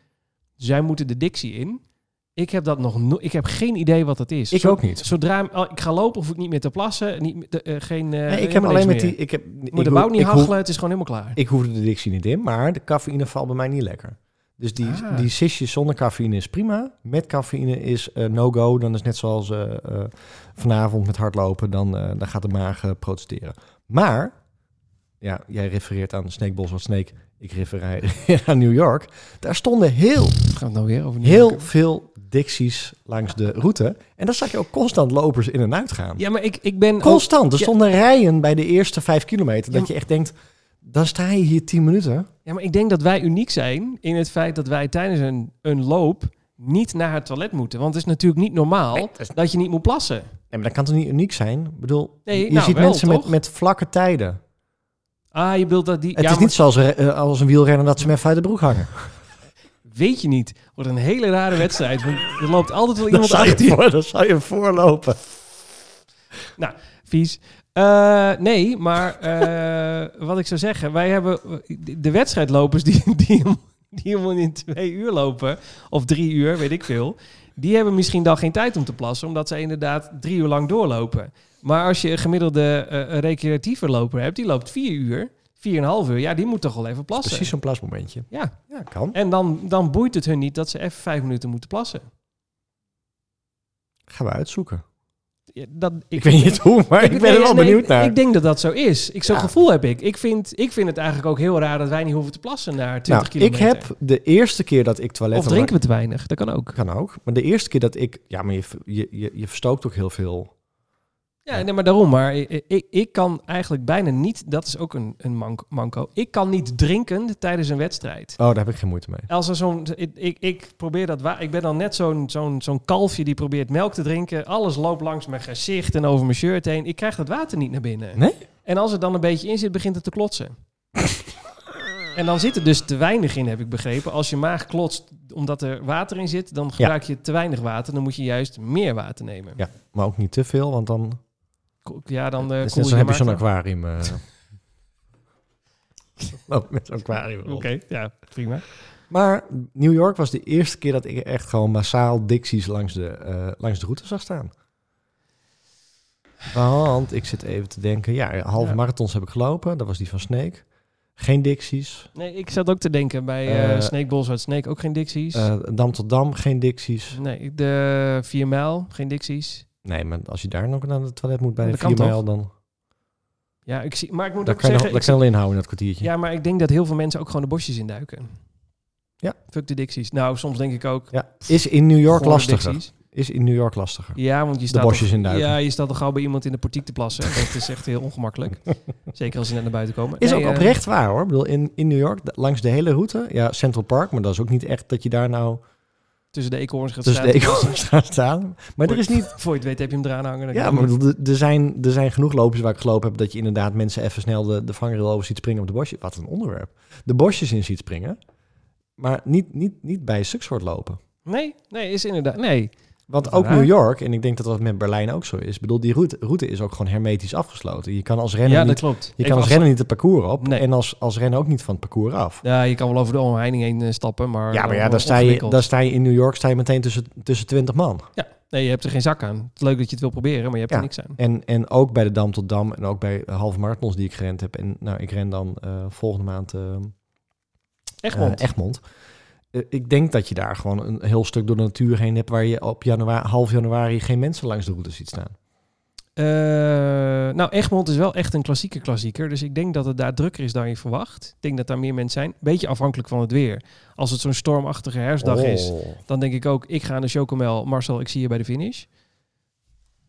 S1: zij moeten de dictie in. Ik heb dat nog no ik heb geen idee wat dat is.
S2: Ik
S1: Zo-
S2: ook niet.
S1: Zodra oh, ik ga lopen hoef ik niet meer te plassen, niet, meer te- eh, geen eh,
S2: Nee, ik heb
S1: helemaal
S2: alleen
S1: niks
S2: met
S1: meer.
S2: die. Ik heb.
S1: Ik moet de
S2: ik
S1: bout
S2: hoef-
S1: niet
S2: ik hoef-
S1: hachelen, het is gewoon helemaal klaar.
S2: Ik hoefde de dictie niet in, maar de cafeïne valt bij mij niet lekker. Dus die,
S1: Ah.
S2: die sisjes zonder cafeïne is prima. Met cafeïne is eh, no-go. Dan is net zoals eh, eh, vanavond met hardlopen. Dan, eh, dan gaat de maag eh, protesteren. Maar, ja, jij refereert aan Snake Bos wat Snake. Ik refereer [LAUGHS] aan New York. Daar stonden heel,
S1: Pff, gaan we het nou weer over
S2: heel veel dicties langs de route. En dan zag je ook constant lopers in en uit gaan.
S1: Ja, maar ik, ik ben ook-
S2: Constant. Er
S1: Ja.
S2: stonden rijen bij de eerste vijf kilometer.
S1: Ja,
S2: Dat je echt denkt, dan sta je hier tien minuten.
S1: Ja, maar ik denk dat wij uniek zijn in het feit dat wij tijdens een, een loop niet naar het toilet moeten, want het is natuurlijk niet normaal
S2: Nee, dat is-
S1: dat je niet moet plassen.
S2: Nee, maar dat kan toch niet uniek zijn? Ik bedoel,
S1: Nee,
S2: je
S1: nou,
S2: ziet
S1: wel,
S2: mensen met,
S1: toch?
S2: met vlakke tijden.
S1: Ah, je bedoelt dat die
S2: Het
S1: ja,
S2: is
S1: maar-
S2: niet zoals eh, als een wielrenner dat ze me even uit de broek hangen.
S1: Weet je niet. Wordt een hele rare wedstrijd. Want er loopt
S2: [LAUGHS]
S1: altijd wel
S2: Dan
S1: Oh, iemand
S2: zou, je
S1: achter je.
S2: voor, dan zou je voorlopen.
S1: Vies. Eh, nee, maar eh, wat ik zou zeggen. Wij hebben de wedstrijdlopers die, die, hem- die helemaal in twee uur lopen. Of drie uur, weet ik veel. Die hebben misschien dan geen tijd om te plassen. Omdat ze inderdaad drie uur lang doorlopen. Maar als je een gemiddelde eh recreatieve loper hebt. Die loopt vier uur. Vier en een half uur. Ja, die moet toch wel even plassen.
S2: Precies zo'n plasmomentje.
S1: Ja.
S2: Ja, kan.
S1: En dan, dan boeit het hun niet dat ze even vijf minuten moeten plassen.
S2: Gaan we uitzoeken.
S1: Ja, dat,
S2: Ik, weet niet hoe, maar ik, ben er
S1: nee,
S2: wel
S1: nee,
S2: benieuwd naar.
S1: Ik denk dat dat zo is. Ik, zo'n
S2: Ja.
S1: gevoel heb ik. Ik vind, ik vind het eigenlijk ook heel raar dat wij niet hoeven te plassen naar 20
S2: nou, ik
S1: kilometer.
S2: heb de eerste keer dat ik toilet...
S1: of drinken we te weinig. Dat kan ook.
S2: Kan ook. Maar de eerste keer dat ik... Ja, maar je, je, je, je verstookt ook heel veel.
S1: Ja, nee, maar daarom. Maar ik, ik, ik kan eigenlijk bijna niet, dat is ook een, een mank- manco, ik kan niet drinken tijdens een wedstrijd.
S2: Oh, daar heb ik geen moeite mee.
S1: Als er zo'n, ik, ik, ik probeer dat waar. Ik ben dan net zo'n zo'n zo'n kalfje die probeert melk te drinken. Alles loopt langs mijn gezicht en over mijn shirt heen. Ik krijg dat water niet naar binnen.
S2: Nee?
S1: En als het dan een beetje in zit, begint het te klotsen. [LAUGHS] en dan zit er dus te weinig in, heb ik begrepen. Als je maag klotst omdat er water in zit, dan gebruik je te weinig water. Dan moet je juist meer water nemen.
S2: Ja, maar ook niet te veel, want
S1: Eh,
S2: dan,
S1: Ko- Ja, dan eh
S2: dat is
S1: koel
S2: Dus
S1: je
S2: net zo heb je zo'n
S1: maag af. [LAUGHS]
S2: aquarium. eh. Ook met zo'n aquarium.
S1: Oké,
S2: erop.
S1: ja, prima.
S2: Maar New York was de eerste keer dat ik echt gewoon massaal Dixies langs de, eh, langs de route zag staan. Want ik zit even te denken, ja, halve
S1: Ja.
S2: marathons heb ik gelopen. Dat was die van Snake. Geen Dixies.
S1: Nee, ik zat ook te denken bij eh
S2: Eh,
S1: Snake Balls uit Snake ook geen Dixies.
S2: Eh, Dam tot Dam, geen Dixies.
S1: nee, de 4 mijl, geen Dixies.
S2: Nee, maar als je daar nog naar het toilet moet bij
S1: Dat
S2: de
S1: kan
S2: 4 mijl,
S1: toch?
S2: dan
S1: Ja, ik zie, maar ik moet
S2: daar
S1: ook
S2: kan je,
S1: zeggen...
S2: nog- daar kan je al inhouden in dat kwartiertje.
S1: ja, maar ik denk dat heel veel mensen ook gewoon de bosjes induiken.
S2: Ja.
S1: Fuck de Dixies. Nou, soms denk ik ook...
S2: Ja, Is in New York
S1: goor
S2: lastiger.
S1: Dixies.
S2: Is in New York lastiger.
S1: Ja, want je staat...
S2: bosjes
S1: toch-
S2: induiken.
S1: Ja, je staat toch gauw bij iemand in de portiek te plassen. Dat is echt heel
S2: [LAUGHS]
S1: ongemakkelijk. Zeker als ze net naar buiten komen.
S2: Is
S1: Nee,
S2: ook
S1: eh,
S2: oprecht waar hoor. Ik bedoel, in, in New York, da- langs de hele route, ja, Central Park, maar dat is ook niet echt dat je daar nou
S1: Tussen de eekhoorns gaat
S2: tussen de
S1: staan.
S2: eekhoorns gaat staan. Maar er is niet.
S1: Voor je het weet heb je hem eraan hangen. Dan
S2: Ja,
S1: kan
S2: maar
S1: je-
S2: ik bedoel, er- er zijn, er zijn genoeg lopers waar ik gelopen heb dat je inderdaad mensen even snel de, de vangrail over ziet springen op de bosje. Wat een onderwerp. De bosjes in ziet springen, maar niet, niet, niet bij Sukshoort lopen.
S1: Nee, nee, is inderdaad... Nee,
S2: Want
S1: Wat
S2: ook
S1: raar.
S2: New York, en ik denk dat dat met Berlijn ook zo is. Ik bedoel, die route, route is ook gewoon hermetisch afgesloten. Je kan als renner,
S1: ja, dat
S2: niet,
S1: klopt.
S2: je
S1: Ik
S2: kan als
S1: was-
S2: renner niet het parcours op
S1: Nee.
S2: en als, als renner ook niet van het parcours af.
S1: Ja, je kan wel over de omheining heen eh, stappen, maar...
S2: Ja, maar ja,
S1: dan
S2: daar sta, je,
S1: ongewikkeld.
S2: daar sta je in New York sta je meteen tussen, tussen 20 man.
S1: Nee, je hebt er geen zak aan. Het is leuk dat je het wil proberen, maar je hebt
S2: Ja.
S1: er niks aan.
S2: En, en ook bij de Dam tot Dam en ook bij de halve marathons die ik gerend heb. En nou, ik ren dan eh, volgende maand eh,
S1: Echt
S2: eh, Egmond. Eh, ik denk dat je daar gewoon een heel stuk door de natuur heen hebt... waar je op januari, half januari geen mensen langs de route ziet staan.
S1: Eh, nou, Egmond is wel echt een klassieke klassieker. Dus ik denk dat het daar drukker is dan je verwacht. Ik denk dat daar meer mensen zijn. Beetje afhankelijk van het weer. Als het zo'n stormachtige herfstdag Dus is,
S2: Oh,
S1: dan denk ik ook... ik ga naar de Chocomel. Marcel, ik zie je bij de finish.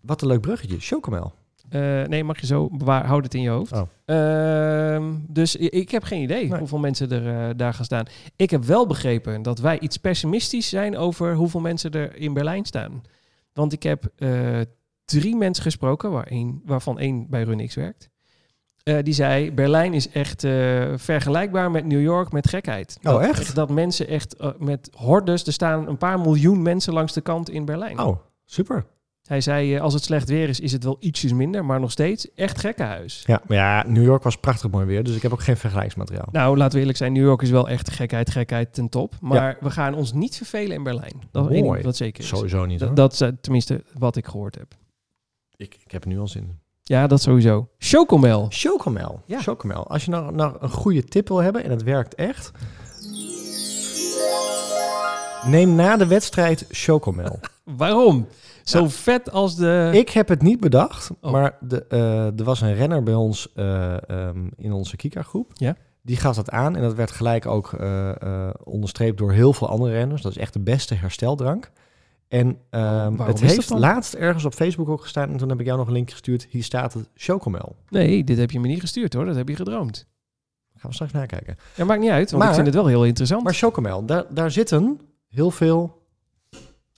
S2: Wat een leuk bruggetje. Chocomel.
S1: Eh, nee, mag je zo. Bewaar, houd het in je hoofd.
S2: Oh.
S1: Ehm, dus i- ik heb geen idee
S2: Nee.
S1: hoeveel mensen er eh, daar gaan staan. Ik heb wel begrepen dat wij iets pessimistisch zijn over hoeveel mensen er in Berlijn staan. Want ik heb eh, drie mensen gesproken, waar één- waarvan één bij Runix werkt. Eh, die zei, Berlijn is echt eh, vergelijkbaar met New York met gekheid.
S2: Oh,
S1: Dat-
S2: echt?
S1: Dat mensen echt eh, met hordes, er staan een paar miljoen mensen langs de kant in Berlijn.
S2: Oh, super.
S1: Hij zei, eh, als het slecht weer is, is het wel ietsjes minder, maar nog steeds echt gekkenhuis.
S2: Ja, maar ja, New York was prachtig mooi weer, dus ik heb ook geen vergelijksmateriaal.
S1: Nou, laten we eerlijk zijn, New York is wel echt gekheid, gekheid ten top. Maar we gaan ons niet vervelen in Berlijn. Dat is één
S2: Mooi.
S1: ding wat zeker is.
S2: Sowieso niet hoor.
S1: Dat, dat is eh, tenminste wat ik gehoord heb.
S2: ik, ik heb er nu al zin in.
S1: Ja, dat sowieso. Chocomel.
S2: Chocomel.
S1: Ja.
S2: Chocomel. Als je nou, nou een goede tip wil hebben, en het werkt echt. Neem na de wedstrijd
S1: [LAUGHS]
S2: Chocomel.
S1: Waarom? Zo vet als de...
S2: ik heb het niet bedacht,
S1: Oh.
S2: maar de, eh, er was een renner bij ons eh, ehm, in onze Kika-groep.
S1: Ja.
S2: Die gaf dat aan en dat werd gelijk ook eh, eh, onderstreept door heel veel andere renners. Dat is echt de beste hersteldrank. En ehm,
S1: Oh, waarom
S2: het
S1: is dat
S2: heeft
S1: dan?
S2: laatst ergens op Facebook ook gestaan. En toen heb ik jou nog een linkje gestuurd. Hier staat het Chocomel.
S1: Nee, dit heb je me niet gestuurd hoor. Dat heb je gedroomd.
S2: Gaan we straks nakijken.
S1: Ja, maakt niet uit, want ik
S2: Maar-
S1: vind het wel heel interessant.
S2: Maar chocomel, daar, daar zitten heel veel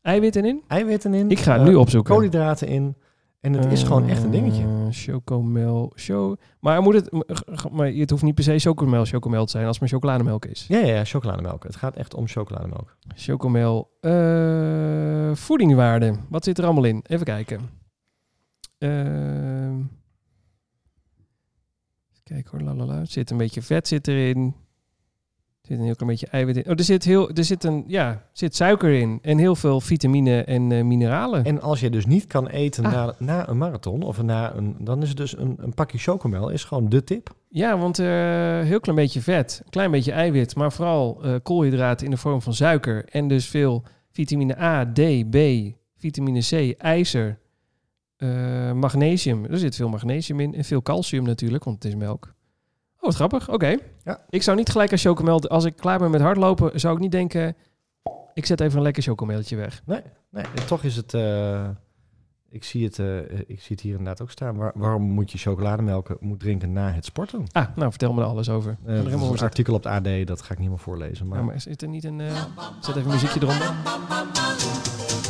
S1: Eiwitten in?
S2: eiwitten in.
S1: Ik ga het
S2: Mm. eh,
S1: nu opzoeken.
S2: Koolhydraten in. En het is gewoon echt een dingetje.
S1: Eh, Chocomel. Cho maar, moet het, maar het hoeft niet per se chocomel, chocomel te zijn als het maar chocolademelk is.
S2: Ja, ja, ja, chocolademelk. Het gaat echt om chocolademelk.
S1: Chocomel. eh voedingwaarde. Wat zit er allemaal in? Even kijken. Ehm even kijken hoor. Lalala. Er zit een beetje vet zit erin. Er zit een heel klein beetje eiwit in. Oh, er zit, heel, er zit, een, ja, er zit suiker in. En heel veel vitamine en eh, mineralen.
S2: En als je dus niet kan eten
S1: Ah.
S2: na, na een marathon of na een... Dan is het dus een, een pakje chocomel is gewoon de tip.
S1: Ja, want eh heel klein beetje vet, klein beetje eiwit, maar vooral eh, koolhydraten in de vorm van suiker. En dus veel vitamine A, D, B, vitamine C, ijzer, eh, magnesium. Er zit veel magnesium in en veel calcium natuurlijk, want het is melk. Oh, wat grappig. Oké.
S2: Ja.
S1: Ik zou niet gelijk als chocomel, als ik klaar ben met hardlopen, zou ik niet denken, ik zet even een lekker chocomeltje weg.
S2: Nee, en toch is het... eh, Ik zie het, eh, ik zie het hier inderdaad ook staan. Waar- waarom moet je chocolademelk moet drinken na het sporten?
S1: Ah, nou vertel me er alles over.
S2: Eh,
S1: er
S2: dat is
S1: helemaal
S2: een
S1: voor zitten.
S2: artikel op het AD, dat ga ik niet helemaal voorlezen. Maar,
S1: Ja, maar zit er niet een... eh, Zet even een muziekje eronder.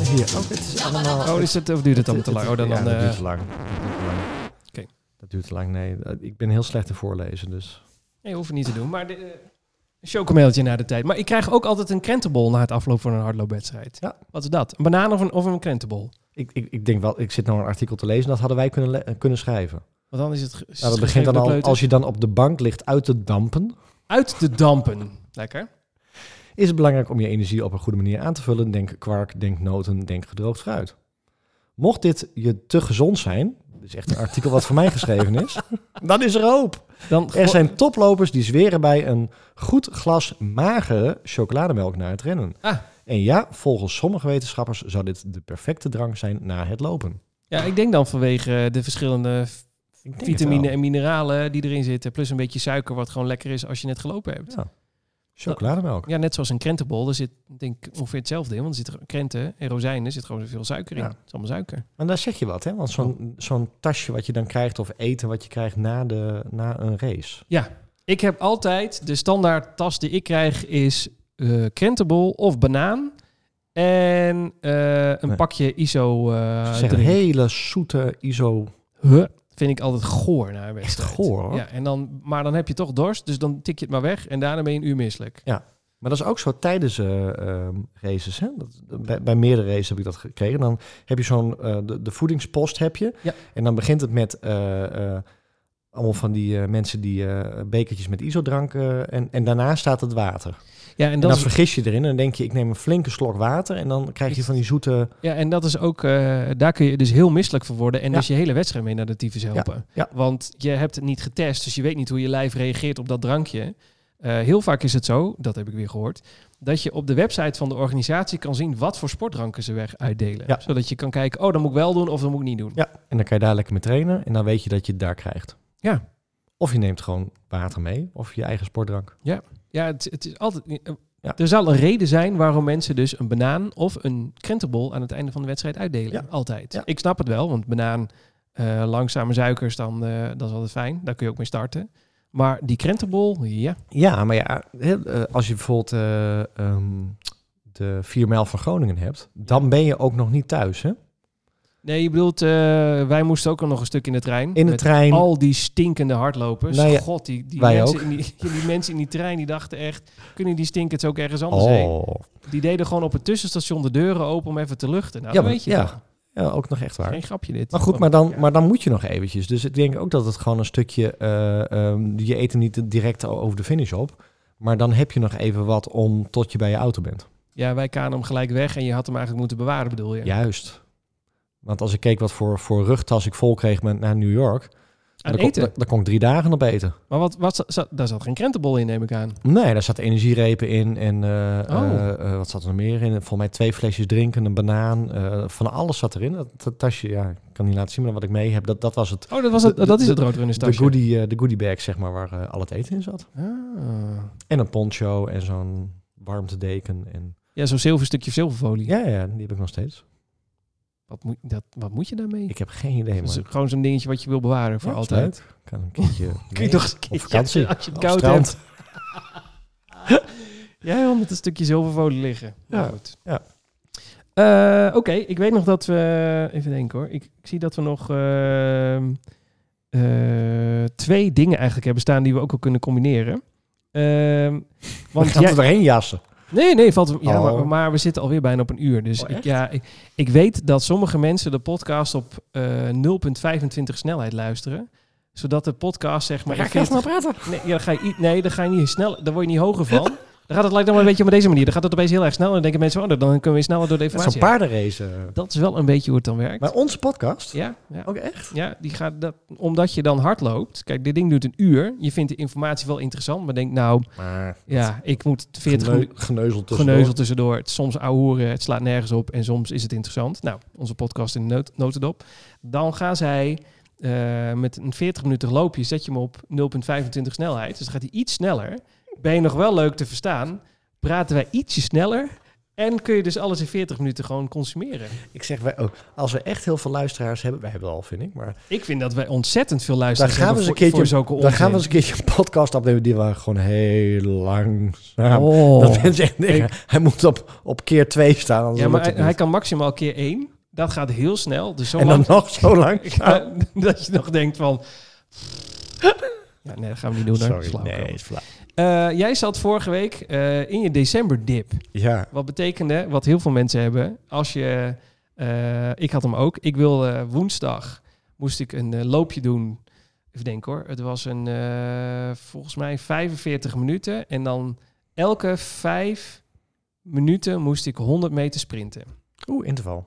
S2: hier, ook, het is allemaal...
S1: Oh, is het, of duurt het dan
S2: Het-
S1: te
S2: het-
S1: lang? Oh, dan,
S2: ja,
S1: dan,
S2: dat
S1: eh,
S2: duurt te lang. Dat duurt te lang.
S1: Oké.
S2: Dat duurt te lang, nee. Eh, Ik ben heel slecht in voorlezen, dus...
S1: nee, hoef je niet te doen. Maar de, eh, een chocomeltje na de tijd. Maar ik krijg ook altijd een krentenbol na het afloop van een hardloopwedstrijd.
S2: Ja.
S1: Wat is dat? Een banaan of een, of een krentenbol?
S2: Ik, ik, ik denk wel, ik zit nou een artikel te lezen, dat hadden wij kunnen, le- eh, kunnen schrijven.
S1: Want dan is het... ge- is
S2: Nou,
S1: het
S2: dat begint dan al,
S1: gegeven
S2: als je dan op de bank ligt uit te dampen,
S1: Uit de dampen. Lekker.
S2: is het belangrijk om je energie op een goede manier aan te vullen. Denk kwark, denk noten, denk gedroogd fruit. Mocht dit je te gezond zijn, dit is echt een artikel wat voor mij geschreven
S1: [LAUGHS]
S2: is, dan is er hoop.
S1: Dan
S2: Er zijn toplopers die zweren bij een goed glas magere chocolademelk na het rennen.
S1: Ah.
S2: En ja, volgens sommige wetenschappers zou dit de perfecte drank zijn na het lopen.
S1: Ja, ik denk dan vanwege eh, de verschillende
S2: Ik denk het
S1: vitamine
S2: wel.
S1: en mineralen die erin zitten. Plus een beetje suiker, wat gewoon lekker is als je net gelopen hebt.
S2: Ja. Chocolademelk.
S1: Ja, net zoals een krentenbol. Daar zit denk ik ongeveer hetzelfde in. Want er zitten krenten en rozijnen, er zit gewoon veel suiker in.
S2: Ja.
S1: Het is allemaal suiker.
S2: Maar daar zeg je wat, hè? Want
S1: Oh.
S2: zo'n zo'n tasje wat je dan krijgt of eten wat je krijgt na, de, na een race.
S1: Ik heb altijd, de standaard tas die ik krijg is eh, krentenbol of banaan. En eh, een
S2: Nee.
S1: pakje iso eh
S2: Ze zeggen
S1: drink.
S2: hele zoete iso.
S1: Huh? Vind ik altijd goor naar een wedstrijd.
S2: goor, hoor.
S1: Ja, en dan, maar dan heb je toch dorst, dus dan tik je het maar weg. En daarna ben je een uur misselijk.
S2: Maar dat is ook zo tijdens eh, ehm, races. Hè? Dat, bij, bij meerdere races heb ik dat gekregen. Dan heb je zo'n eh, de, de voedingspost heb je.
S1: Ja.
S2: En dan begint het met eh, eh, allemaal van die eh, mensen die eh, bekertjes met isodrank. eh en, en daarna staat het water.
S1: Ja, en
S2: En
S1: dat
S2: dan
S1: is
S2: vergis je erin en dan denk je, ik neem een flinke slok water. En dan krijg je van die zoete.
S1: Ja, en dat is ook, eh, daar kun je dus heel misselijk voor worden. En
S2: Ja.
S1: dus je hele wedstrijd mee naar de tyfus helpen.
S2: ja.
S1: Want je hebt het niet getest, dus je weet niet hoe je lijf reageert op dat drankje. Eh, heel vaak is het zo, dat heb ik weer gehoord, dat je op de website van de organisatie kan zien wat voor sportdranken ze weg uitdelen.
S2: Ja.
S1: Zodat je kan kijken, oh, dat moet ik wel doen of dat moet ik niet doen.
S2: Ja. En dan kan je daar lekker mee trainen. En dan weet je dat je het daar krijgt.
S1: Ja.
S2: Of je neemt gewoon water mee. Of je eigen sportdrank.
S1: Ja, het, het is altijd. eh,
S2: Ja.
S1: Er zal een reden zijn waarom mensen dus een banaan of een krentenbol aan het einde van de wedstrijd uitdelen.
S2: Ja.
S1: Altijd.
S2: Ja.
S1: Ik snap het wel, want banaan, eh, langzame suikers, dan, eh, dat is altijd fijn. Daar kun je ook mee starten. Maar die krentenbol, ja.
S2: Ja, maar ja, hè, eh, als je bijvoorbeeld eh, ehm, de 4 mijl van Groningen hebt, dan ben je ook nog niet thuis, hè?
S1: Nee, je bedoelt, eh, wij moesten ook al nog een stuk in de trein.
S2: In de
S1: Met
S2: trein.
S1: Al die stinkende hardlopers.
S2: Nou ja,
S1: God, die, die,
S2: wij
S1: mensen
S2: ook.
S1: In die, [LAUGHS] die mensen in die trein die dachten echt, kunnen die stinkers ook ergens
S2: Oh.
S1: anders heen? Die deden gewoon op het tussenstation de deuren open om even te luchten. Nou,
S2: Ja,
S1: dan
S2: maar-
S1: weet je
S2: ja.
S1: wel.
S2: ja, ook nog echt waar.
S1: Geen grapje dit.
S2: Maar goed, maar dan, maar dan moet je nog eventjes. Dus ik denk ook dat het gewoon een stukje, eh, ehm, je eet hem niet direct al over de finish op, maar dan heb je nog even wat om tot je bij je auto bent.
S1: Ja, wij kanen hem gelijk weg en je had hem eigenlijk moeten bewaren, bedoel je?
S2: Juist. Want als ik keek wat voor, voor rugtas ik vol kreeg met, naar New York,
S1: Aan
S2: dan kon-
S1: eten.
S2: dan- dan kon ik drie dagen op eten.
S1: Maar wat, wat, za- za- daar zat geen krentenbol in, neem ik aan.
S2: Nee, daar zaten energierepen in en eh,
S1: Oh.
S2: eh, eh, wat zat er nog meer in? Volgens mij twee flesjes drinken, een banaan, eh, van alles zat erin. Dat, dat tasje, ja, ik kan niet laten zien, maar wat ik mee heb, dat, dat was het.
S1: Oh, dat, was het,
S2: De-
S1: dat is
S2: de-
S1: het roodrunners
S2: De
S1: tasje.
S2: goodie, eh, de goodie bag, zeg maar, waar eh, al het eten in zat.
S1: Ah.
S2: En een poncho en zo'n warmtedeken. En...
S1: Ja, zo'n zilver stukje zilverfolie.
S2: Ja, ja, die heb ik nog steeds.
S1: Wat, moet, dat, wat moet je daarmee?
S2: Ik heb geen idee,
S1: Dat
S2: man.
S1: is gewoon zo'n dingetje wat je wil bewaren voor
S2: Ja, is
S1: altijd.
S2: leuk. Kan een keertje
S1: [LAUGHS] Kun je
S2: mee.
S1: toch eens een keertje-
S2: vakantie.
S1: Als je het
S2: Op
S1: koud
S2: strand.
S1: hebt. Jij wil met een stukje zilverfolie liggen. Maar
S2: Ja,
S1: goed.
S2: ja.
S1: Eh, Oké, ik weet nog dat we... Even denken hoor. Ik, ik zie dat we nog ehm, eh, twee dingen eigenlijk hebben staan die we ook al kunnen combineren.
S2: [LAUGHS]
S1: Ehm,
S2: We
S1: want
S2: gaan
S1: jij,
S2: er doorheen jassen.
S1: Nee, nee, valt, ja,
S2: Oh.
S1: maar, maar we zitten alweer bijna op een uur. Dus
S2: Oh,
S1: ik,
S2: echt?
S1: ja, ik, ik weet dat sommige mensen de podcast op eh 0,25 snelheid luisteren. Zodat de podcast zeg maar...
S2: Maar ga
S1: in
S2: ik heel
S1: 40
S2: snel praten.
S1: Nee, ja, dan ga je, i- nee, dan ga je niet snel, daar word je niet hoger van. Dan gaat het lijkt dan maar een beetje op deze manier. Dan gaat het opeens heel erg snel en dan denken mensen, oh, dan kunnen we weer sneller door de
S2: Het is
S1: informatie.
S2: een paardenrace.
S1: Dat is wel een beetje hoe het dan werkt.
S2: Maar onze podcast?
S1: ja, ja,
S2: Ook echt?
S1: ja die gaat dat, omdat je dan hard loopt. Kijk, dit ding doet een uur. Je vindt de informatie wel interessant, maar denkt, nou,
S2: Maar
S1: ja, ik moet 40
S2: geneu-
S1: minuten
S2: geneuzel tussendoor.
S1: geneuzel tussendoor. Het is soms ouwehoeren, het slaat nergens op en soms is het interessant. Nou, onze podcast in de nood- notendop. Dan gaan zij eh, met een 40 minuten loopje, zet je hem op 0,25 snelheid. Dus dan gaat hij iets sneller. Ben je nog wel leuk te verstaan, praten wij ietsje sneller En kun je dus alles in 40 minuten gewoon consumeren.
S2: Ik zeg, wij, oh, als we echt heel veel luisteraars hebben, wij hebben al, vind ik, maar
S1: Ik vind dat wij ontzettend veel luisteren.
S2: Dan gaan we
S1: Dus hebben
S2: eens een
S1: voor, voor zulke
S2: dan gaan we eens
S1: onzin.
S2: een keertje een podcast opnemen die we gewoon heel langzaam...
S1: Oh.
S2: Dat mensen echt denken, hij moet op, op keer 2 staan. anders
S1: Ja, maar
S2: lukt
S1: hij,
S2: het
S1: hij
S2: niet.
S1: kan maximaal keer één. Dat gaat heel snel. Dus zo
S2: En dan
S1: lang-
S2: nog
S1: [LAUGHS]
S2: zo lang.
S1: dat je nog denkt van... [LAUGHS] Ja, nee, dat gaan we niet doen. hoor.
S2: Sorry,
S1: Flauw.
S2: nee, is flauw.
S1: Eh, jij zat vorige week eh, in je decemberdip.
S2: Ja,
S1: Wat betekende, wat heel veel mensen hebben, als je... eh, ik had hem ook. Ik wil eh, woensdag, moest ik een eh, loopje doen. Even denken hoor. Het was een, eh, volgens mij 45 minuten. En dan elke vijf minuten moest ik 100 meter sprinten.
S2: oeh, interval.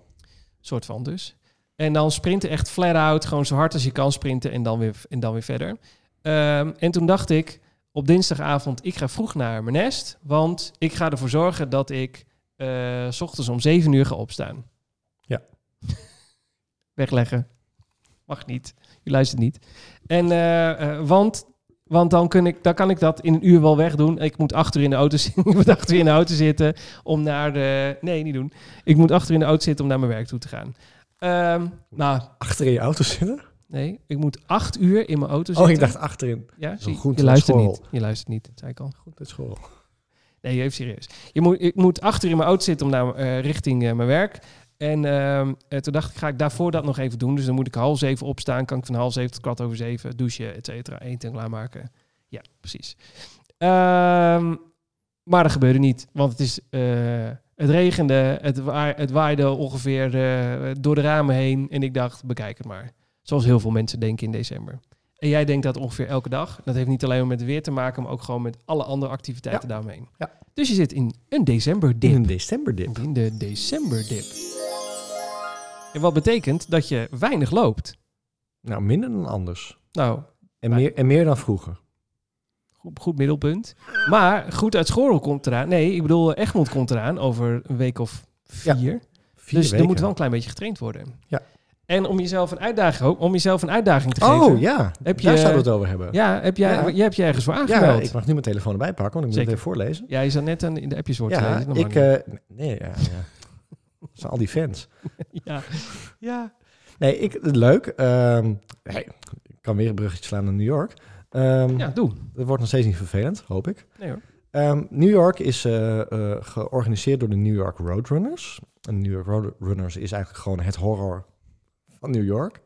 S1: Soort van dus. En dan sprinten echt flat out, gewoon zo hard als je kan sprinten en dan weer, en dan weer verder. Ehm, en toen dacht ik op dinsdagavond, ik ga vroeg naar mijn nest, want ik ga ervoor zorgen dat ik eh, s ochtends om 7 uur ga opstaan.
S2: Ja.
S1: [LAUGHS] Wegleggen. Mag niet. Je luistert niet. En, eh, eh, want want dan, kun ik, dan kan ik dat in een uur wel wegdoen. Ik moet achter in de auto [LAUGHS] zitten. Ik moet achter in de auto zitten om naar de. Nee, niet doen. Ik moet achter in de auto zitten om naar mijn werk toe te gaan. Ehm, nou,
S2: Achter in je auto zitten?
S1: nee, ik moet acht uur in mijn auto zitten.
S2: Oh, ik dacht achterin.
S1: ja,
S2: zo
S1: zie,
S2: goed
S1: je luistert
S2: school.
S1: niet. Je luistert niet, zei ik al.
S2: Goed, dat is gewoon.
S1: Nee, even serieus. Je moet, ik moet achter in mijn auto zitten om naar, eh, richting eh, mijn werk. En ehm, eh, toen dacht ik, ga ik daarvoor dat nog even doen. Dus dan moet ik half zeven opstaan. Kan ik van half zeven tot kwart over zeven douchen, et cetera. Eten en klaarmaken. Ja, precies. Ehm, maar dat gebeurde niet. Want het, is, eh, het regende, het, wa- het waaide ongeveer eh, door de ramen heen. En ik dacht, bekijk het maar. Zoals heel veel mensen denken in december. En jij denkt dat ongeveer elke dag. Dat heeft niet alleen maar met het weer te maken, maar ook gewoon met alle andere activiteiten daaromheen.
S2: Ja.
S1: Dus je zit in een decemberdip.
S2: In een decemberdip.
S1: In de decemberdip. En wat betekent dat je weinig loopt.
S2: Nou, minder dan anders.
S1: Nou,
S2: En,
S1: Maar-
S2: meer, en meer dan vroeger.
S1: goed, goed middelpunt. Maar goed uit Schorl komt eraan. Nee, ik bedoel, Egmond komt eraan over een week of
S2: Ja,
S1: vier.
S2: Vier
S1: dus er
S2: weken.
S1: moet wel een klein beetje getraind worden.
S2: Ja.
S1: En om jezelf een uitdaging, ook, om jezelf een uitdaging te geven.
S2: Oh ja,
S1: Heb
S2: daar
S1: je-
S2: zouden we het over hebben.
S1: Ja, heb jij,
S2: Ja.
S1: jij hebt je ergens voor
S2: Ja,
S1: aangemeld.
S2: ik mag nu mijn telefoon erbij pakken, want ik moet
S1: Zeker.
S2: het even voorlezen.
S1: Ja, je zat net aan, in de appjes voor te
S2: Ja,
S1: lezen. dat mag
S2: ik...
S1: niet.
S2: eh, nee, ja, ja. [LAUGHS] Dat zijn al die fans. eh,
S1: ja. ja.
S2: Nee, ik, leuk. Ehm, hey, ik kan weer een bruggetje slaan naar New York. Ehm,
S1: ja, doe.
S2: Dat wordt nog steeds niet vervelend, hoop ik.
S1: Nee hoor.
S2: Ehm, New York is eh, eh, georganiseerd door de New York Roadrunners. En New York Roadrunners is eigenlijk gewoon het horror van New York,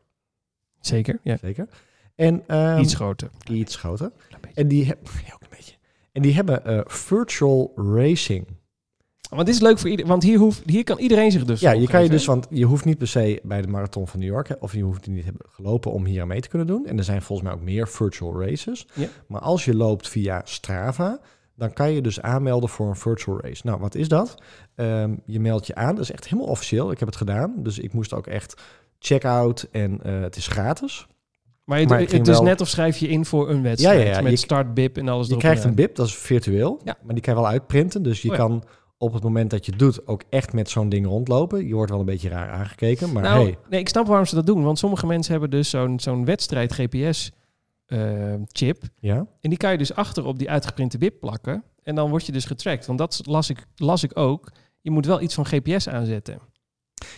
S1: Zeker, ja.
S2: zeker. En, ehm,
S1: Iets groter.
S2: iets groter.
S1: Klein beetje.
S2: En die, heb- ja, [LAUGHS] ook een beetje. En die hebben eh, virtual racing.
S1: Want dit is leuk voor iedereen, want hier, hoeft, hier kan iedereen zich dus
S2: Ja, je kan je
S1: opgeven.
S2: dus, want je hoeft niet per se bij de marathon van New York, hè, of je hoeft die niet hebben gelopen om hier aan mee te kunnen doen. En er zijn volgens mij ook meer virtual races.
S1: Ja.
S2: Maar als je loopt via Strava, dan kan je dus aanmelden voor een virtual race. Nou, wat is dat? Ehm, je meldt je aan. Dat is echt helemaal officieel. Ik heb het gedaan, dus ik moest ook echt check-out en eh, het is gratis.
S1: Maar, het,
S2: Maar het
S1: het
S2: ging
S1: is
S2: wel-
S1: net of schrijf je in voor een wedstrijd
S2: Ja, ja, ja.
S1: met
S2: Je-
S1: start, bib en alles
S2: Je
S1: erop
S2: krijgt
S1: en
S2: een bib, dat is virtueel,
S1: Ja.
S2: maar die kan je wel uitprinten. Dus je
S1: Oh ja.
S2: kan op het moment dat je het doet ook echt met zo'n ding rondlopen. Je wordt wel een beetje raar aangekeken, maar
S1: aan. Nou,
S2: hey.
S1: nee, ik snap waarom ze dat doen. Want sommige mensen hebben dus zo'n zo'n wedstrijd GPS-chip.
S2: Ja?
S1: eh, en die kan je dus achter op die uitgeprinte bib plakken. En dan word je dus getrackt. Want dat las ik, las ik ook. Je moet wel iets van GPS aanzetten.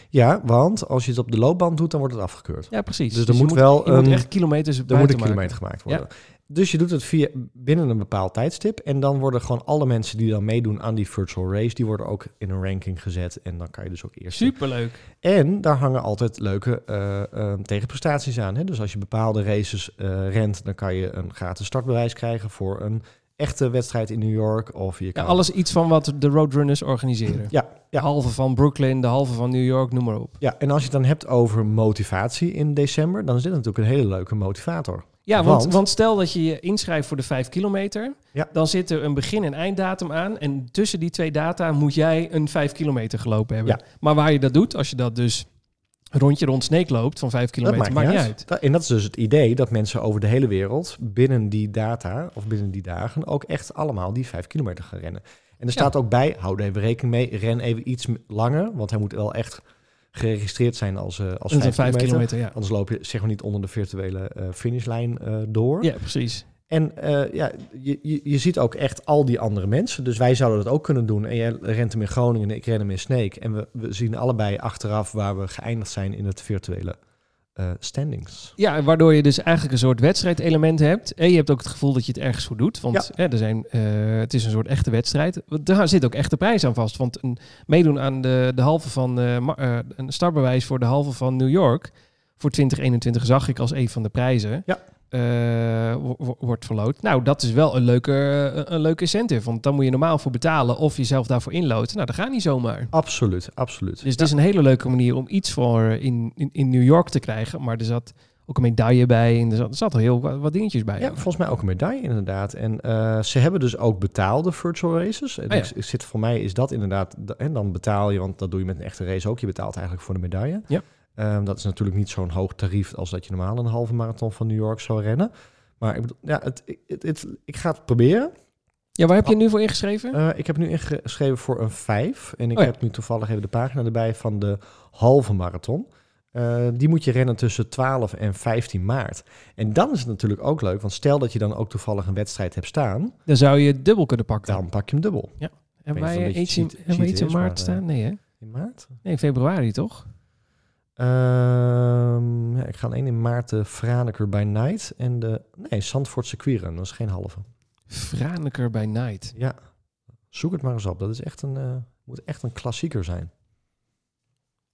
S2: Ja, want als je het op de loopband doet, dan wordt het afgekeurd.
S1: Ja, precies.
S2: Dus er moet
S1: je
S2: wel
S1: Je moet
S2: een-
S1: echt kilometers
S2: Er moet
S1: buiten
S2: een kilometer gemaakt worden. Dus je doet het via, binnen een bepaald tijdstip. En dan worden gewoon alle mensen die dan meedoen aan die virtual race, die worden ook in een ranking gezet. En dan kan je dus ook
S1: maken.
S2: eerst.
S1: Superleuk.
S2: En daar hangen altijd leuke eh, eh, tegenprestaties aan. Hè? Dus als je bepaalde races eh, rent, dan kan je een gratis startbewijs krijgen voor een echte wedstrijd in New York. Of je
S1: Ja,
S2: kan
S1: alles iets van wat de roadrunners organiseren.
S2: Ja,
S1: De
S2: ja.
S1: halve van Brooklyn, de halve van New York, noem maar op.
S2: ja, en als je het dan hebt over motivatie in december, dan is dit natuurlijk een hele leuke motivator.
S1: Ja, want,
S2: Want-
S1: want, stel dat je je inschrijft voor de 5 kilometer.
S2: Ja.
S1: Dan zit er een begin- en einddatum aan. En tussen die twee data moet jij een 5 kilometer gelopen hebben.
S2: Ja.
S1: Maar waar je dat doet, als je dat dus rondje rond Sneek loopt van 5 kilometer, maakt, niet uit.
S2: Da- En dat is dus het idee dat mensen over de hele wereld binnen die data of binnen die dagen ook echt allemaal die vijf kilometer gaan rennen. En er
S1: Ja.
S2: staat ook bij, hou er even rekening mee, ren even iets m- langer, want hij moet wel echt geregistreerd zijn als, eh als
S1: Dat is een
S2: vijf
S1: 5
S2: kilometer.
S1: kilometer, ja.
S2: Anders loop je zeg maar niet onder de virtuele eh, finishlijn eh, door.
S1: Ja, precies.
S2: En eh, ja, je, je, je ziet ook echt al die andere mensen. Dus wij zouden dat ook kunnen doen. En jij rent hem in Groningen en ik ren hem in Sneek. En we, we zien allebei achteraf waar we geëindigd zijn in het virtuele eh, standings.
S1: Ja, waardoor je dus eigenlijk een soort wedstrijdelement hebt. En je hebt ook het gevoel dat je het ergens goed doet. Want hè, er zijn, eh, het is een soort echte wedstrijd. Want Daar zit ook echte prijs aan vast. Want een, meedoen aan de, de halve van eh, ma- eh, een startbewijs voor de halve van New York voor 2021 zag ik als een van de prijzen.
S2: Ja.
S1: eh, wo- wo- wordt verloot. Nou, dat is wel een leuke, eh, een leuke incentive. Want dan moet je normaal voor betalen of jezelf daarvoor inloten. Nou, dat gaat niet zomaar.
S2: Absoluut, absoluut.
S1: Dus het is een hele leuke manier om iets voor eh, in, in, in New York te krijgen. Maar er zat ook een medaille bij en er zat, er zat al heel wat, wat dingetjes bij.
S2: Ja, volgens mij ook een medaille inderdaad. En eh, ze hebben dus ook betaalde virtual races. En
S1: Ah, ja.
S2: ik- ik zit, voor mij is dat inderdaad... En dan betaal je, want dat doe je met een echte race ook. Je betaalt eigenlijk voor de medaille.
S1: Ja.
S2: Ehm, dat is natuurlijk niet zo'n hoog tarief als dat je normaal een halve marathon van New York zou rennen. Maar ik, bedoel, ja, het, het, het, ik ga het proberen.
S1: ja, waar heb
S2: Ah.
S1: je nu voor ingeschreven?
S2: Eh, ik heb nu ingeschreven voor een 5. En ik
S1: Oh ja.
S2: heb nu toevallig even de pagina erbij van de halve marathon. Eh, die moet je rennen tussen 12 en 15 maart. En dan is het natuurlijk ook leuk, want stel dat je dan ook toevallig een wedstrijd hebt staan,
S1: Dan zou je het dubbel kunnen pakken.
S2: dan pak je hem dubbel.
S1: hebben
S2: weet
S1: wij
S2: niet of
S1: eh,
S2: dat
S1: iets
S2: je
S1: in,
S2: cheat-
S1: hebben we
S2: cheat
S1: iets in
S2: is,
S1: maart
S2: maar, eh,
S1: staan? Nee, hè?
S2: In maart?
S1: Nee, februari toch?
S2: Ehm, ja, ik ga alleen in maart de Franeker by Night en de... Nee, Zandvoort Sequieren, dat is geen halve.
S1: Franeker bij Night.
S2: Ja, zoek het maar eens op. Dat is echt een, eh, moet echt een klassieker zijn. [LAUGHS]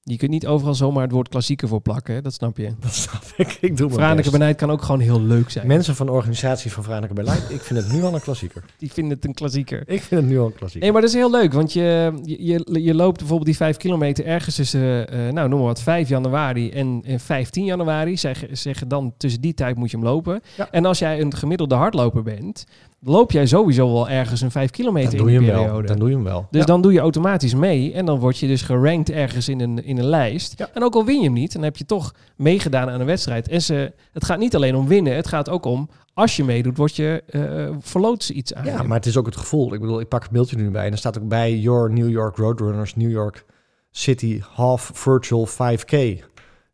S1: Je kunt niet overal zomaar het woord klassieker voor plakken, hè? dat snap je.
S2: Dat snap ik. Ik doe mijn
S1: Franeker
S2: best.
S1: bij Night kan ook gewoon heel leuk zijn.
S2: Mensen van de organisatie van Vraneker Berlijn, ik vind het nu al een klassieker.
S1: Die vinden het een klassieker.
S2: [LAUGHS] Ik vind het nu al een klassieker.
S1: Nee, maar dat is heel leuk, want je, je, je- je loopt bijvoorbeeld die vijf kilometer ergens tussen, eh, nou noem maar wat, 5 januari en, en 15 januari. Zeggen, zeggen dan tussen die tijd moet je hem lopen.
S2: Ja.
S1: En als jij een gemiddelde hardloper bent, loop jij sowieso wel ergens een 5 kilometer
S2: Dan
S1: in
S2: doe je
S1: die
S2: hem
S1: periode.
S2: wel. Dan doe je hem wel.
S1: Dus
S2: Ja.
S1: dan doe je automatisch mee en dan word je dus gerankt ergens in een, in een lijst.
S2: Ja.
S1: En ook al win je hem niet, dan heb je toch meegedaan aan een wedstrijd. En ze, het gaat niet alleen om winnen, het gaat ook om als je meedoet, word je, eh verloot ze iets aan.
S2: ja,
S1: je.
S2: maar het is ook het gevoel. Ik bedoel, ik pak het mailtje er nu bij en er staat ook bij Your New York Roadrunners New York City Half Virtual 5K.
S1: Ja.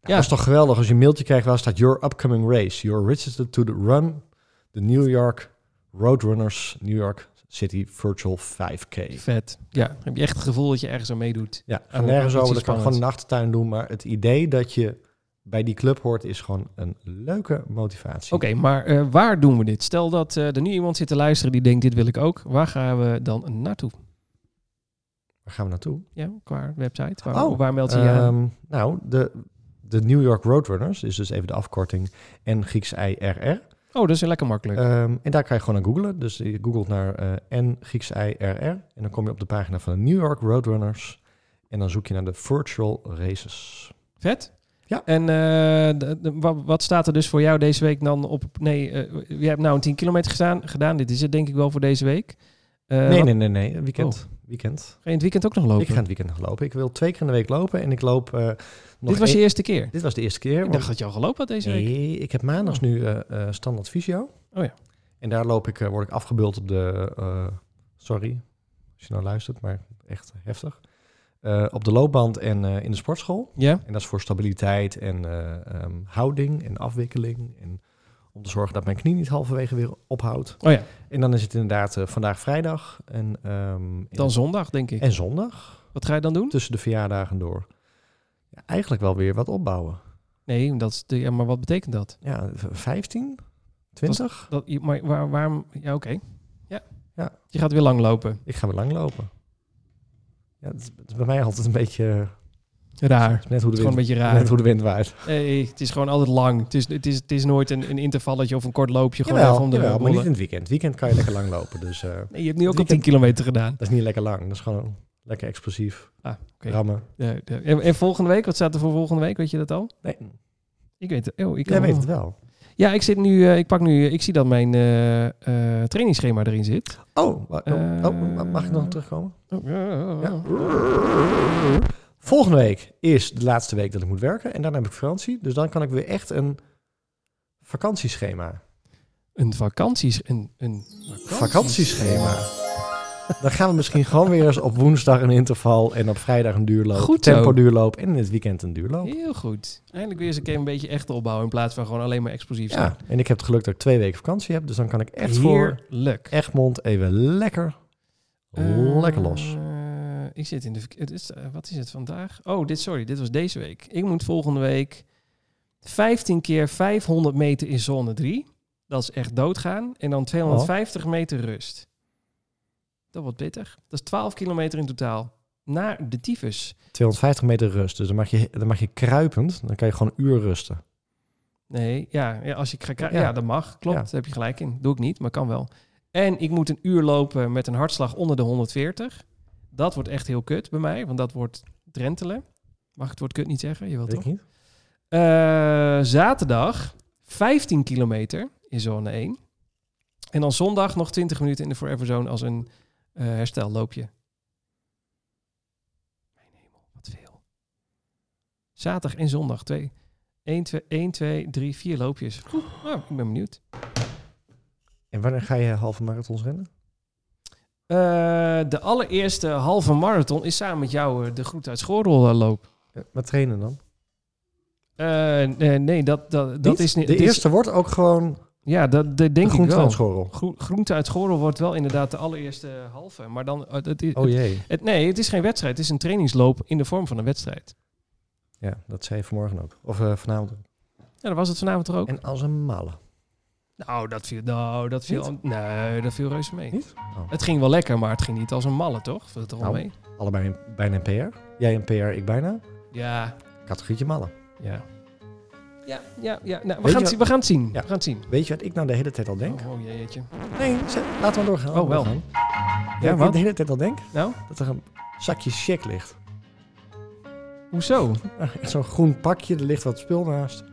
S2: Dat is toch geweldig als je een mailtje krijgt waar staat Your Upcoming Race. You're registered to the run the New York Roadrunners New York City Virtual 5K.
S1: Vet. Ja, dan heb je echt het gevoel dat je ergens aan meedoet.
S2: Ja,
S1: En
S2: ga
S1: dat
S2: nergens
S1: is
S2: over. Dat kan
S1: spannend.
S2: gewoon een achtertuin doen. Maar het idee dat je bij die club hoort is gewoon een leuke motivatie.
S1: Oké, maar eh, waar doen we dit? Stel dat eh, er nu iemand zit te luisteren die denkt, dit wil ik ook. Waar gaan we dan naartoe?
S2: Waar gaan we naartoe?
S1: Ja, qua website. Waar,
S2: Oh,
S1: waar meld je je aan?
S2: Ehm, nou, de, de New York Roadrunners is dus even de afkorting en Grieks IRR.
S1: Oh, dat is lekker makkelijk.
S2: Ehm en daar kan je gewoon aan googlen. Dus je googelt naar eh N Grieks IRR. En dan kom je op de pagina van de New York Roadrunners. En dan zoek je naar de virtual races.
S1: Vet.
S2: Ja.
S1: En eh, de- de- wa- wat staat er dus voor jou deze week dan op... Nee, eh, je hebt nou een 10 kilometer gedaan, gedaan. Dit is het denk ik wel voor deze week. Eh,
S2: nee,
S1: wat-
S2: nee, nee, nee. Weekend. Weekend.
S1: Ga je in het weekend ook nog lopen?
S2: Ik ga het weekend nog lopen. Ik wil twee keer in de week lopen. En ik loop eh, nog
S1: Dit was
S2: één-
S1: je eerste keer?
S2: Dit was de eerste keer.
S1: Ik
S2: want-
S1: dacht dat je al gelopen had deze week.
S2: Nee, ik heb maandags nu eh, eh, standaard visio.
S1: Oh ja.
S2: En daar loop ik, eh, word ik afgebeeld op de... eh, sorry, als je nou luistert, maar echt heftig. Eh, op de loopband en eh, in de sportschool.
S1: Ja?
S2: En dat is voor stabiliteit en eh, ehm, houding en afwikkeling. En om te zorgen dat mijn knie niet halverwege weer ophoudt.
S1: Oh ja,
S2: En dan is het inderdaad eh, vandaag vrijdag en, ehm,
S1: dan zondag denk ik.
S2: en zondag.
S1: Wat ga je dan doen?
S2: Tussen de verjaardagen door. Ja, eigenlijk wel weer wat opbouwen.
S1: Nee, dat is de, ja, maar wat betekent dat?
S2: Ja, v- 15? 20?
S1: dat je- maar waar, waarom? Ja, oké. Ja.
S2: Ja.
S1: Je gaat weer lang lopen.
S2: Ik ga weer lang lopen. Ja, het, is, het is bij mij altijd een beetje eh,
S1: Raar. Het
S2: net, hoe
S1: is gewoon
S2: de
S1: een
S2: wind,
S1: beetje
S2: net
S1: raar.
S2: hoe de wind waait.
S1: Nee, het is gewoon altijd lang. Het is, het is, het is nooit een, een intervalletje of een kort loopje. Gewoon even
S2: Jawel,
S1: om de
S2: jawel, maar niet
S1: bolle-
S2: in het weekend. Weekend kan je lekker lang lopen, dus eh,
S1: Nee, je hebt nu ook al
S2: weekend-
S1: 10 kilometer gedaan.
S2: dat is niet lekker lang. Dat is gewoon lekker explosief.
S1: Ah, oké.
S2: Rammen.
S1: Ja, ja. En, en volgende week? Wat staat er voor volgende week? Weet je dat al?
S2: Nee,
S1: Ik weet het. Oh, ik
S2: jij weet het wel.
S1: Ja, ik zit nu. eh, ik pak nu. Ik zie dat mijn eh, eh, trainingsschema erin zit.
S2: Oh, wa- oh,
S1: Eh,
S2: oh, ma- mag ik nog terugkomen?
S1: Oh, ja.
S2: Ja. Volgende week is de laatste week dat ik moet werken en daarna heb ik vakantie. Dus dan kan ik weer echt een vakantieschema.
S1: Een vakanties. Een, een
S2: Vakantieschema. Dan gaan we misschien gewoon weer eens op woensdag een interval en op vrijdag een duurloop.
S1: Goed zo.
S2: tempo duurloop en in het weekend een duurloop.
S1: Heel goed. Eindelijk weer eens een keer een beetje echt opbouwen in plaats van gewoon alleen maar explosief zijn.
S2: Ja, en ik heb het geluk dat ik twee weken vakantie heb, dus dan kan ik echt voor
S1: Heerlijk.
S2: Egmond even lekker,
S1: Eh,
S2: lekker los.
S1: ik zit in de. verk- Het is, eh, wat is het vandaag? Oh, dit, sorry, dit was deze week. Ik moet volgende week 15 keer 500 meter in zone 3. Dat is echt doodgaan. En dan 250
S2: Oh.
S1: meter rust. Dat wordt pittig. Dat is 12 kilometer in totaal. Naar de tyfus.
S2: 250 meter rust. Dus dan mag, je, dan mag je kruipend, dan kan je gewoon een uur rusten.
S1: Nee, ja, ja als ik ga krijgen.
S2: Ja.
S1: Ja. dat mag. Klopt,
S2: Ja.
S1: daar heb je gelijk in. Doe ik niet, maar kan wel. En ik moet een uur lopen met een hartslag onder de 140. Dat wordt echt heel kut bij mij, want dat wordt drentelen. Mag ik het woord kut niet zeggen? Je wilt
S2: Weet
S1: toch?
S2: ik niet.
S1: Eh, zaterdag 15 kilometer in zone 1. En dan zondag nog 20 minuten in de Forever Zone als een eh, herstelloopje. Mijn hemel, wat veel. Zaterdag en zondag. 2, 1, 2, 1, 2, 3, 4 loopjes. Oeh, nou, ik ben benieuwd.
S2: En wanneer ga je halve marathons rennen?
S1: Eh, de allereerste halve marathon is samen met jou eh, de Groet uit Schorrel eh, loop.
S2: Eh, Wat trainen dan?
S1: Eh, nee, nee, dat, dat, dat is niet...
S2: De
S1: het is-
S2: eerste wordt ook gewoon
S1: ja, dat, dat
S2: de
S1: denk ik
S2: groente
S1: wel.
S2: van schorrel.
S1: Groen- Groente uit Schorrel wordt wel inderdaad de allereerste halve. Maar dan. eh, Het, is-
S2: Oh jee.
S1: het- nee, het is geen wedstrijd. Het is een trainingsloop in de vorm van een wedstrijd.
S2: Ja, dat zei je vanmorgen ook. Of eh, vanavond ook.
S1: Ja, dat was het vanavond toch ook?
S2: En als een malle.
S1: Nou, dat viel. Nou, dat viel. Nee, dat viel reuze mee.
S2: Niet? Oh.
S1: Het ging wel lekker, maar het ging niet als een malle, toch? Viel het er wel
S2: Nou.
S1: mee?
S2: Allebei een- bijna een PR. Jij een PR, ik bijna.
S1: Ja,
S2: Categorietje malle.
S1: ja. Ja, ja, ja. Nou, we,
S2: je
S1: gaan het,
S2: wat-
S1: zien- we gaan het zien.
S2: Ja.
S1: We gaan het zien.
S2: Weet je wat ik nou de hele tijd al denk?
S1: Oh, oh jeetje.
S2: Nee, zet- laten we doorgaan.
S1: Oh, wel.
S2: Doorgaan.
S1: Ja,
S2: Ja, wat ik
S1: wat?
S2: de hele tijd al denk?
S1: Nou,
S2: Dat er een zakje check ligt.
S1: hoezo?
S2: Ah, echt Zo'n groen pakje, er ligt wat spul naast. [LAUGHS]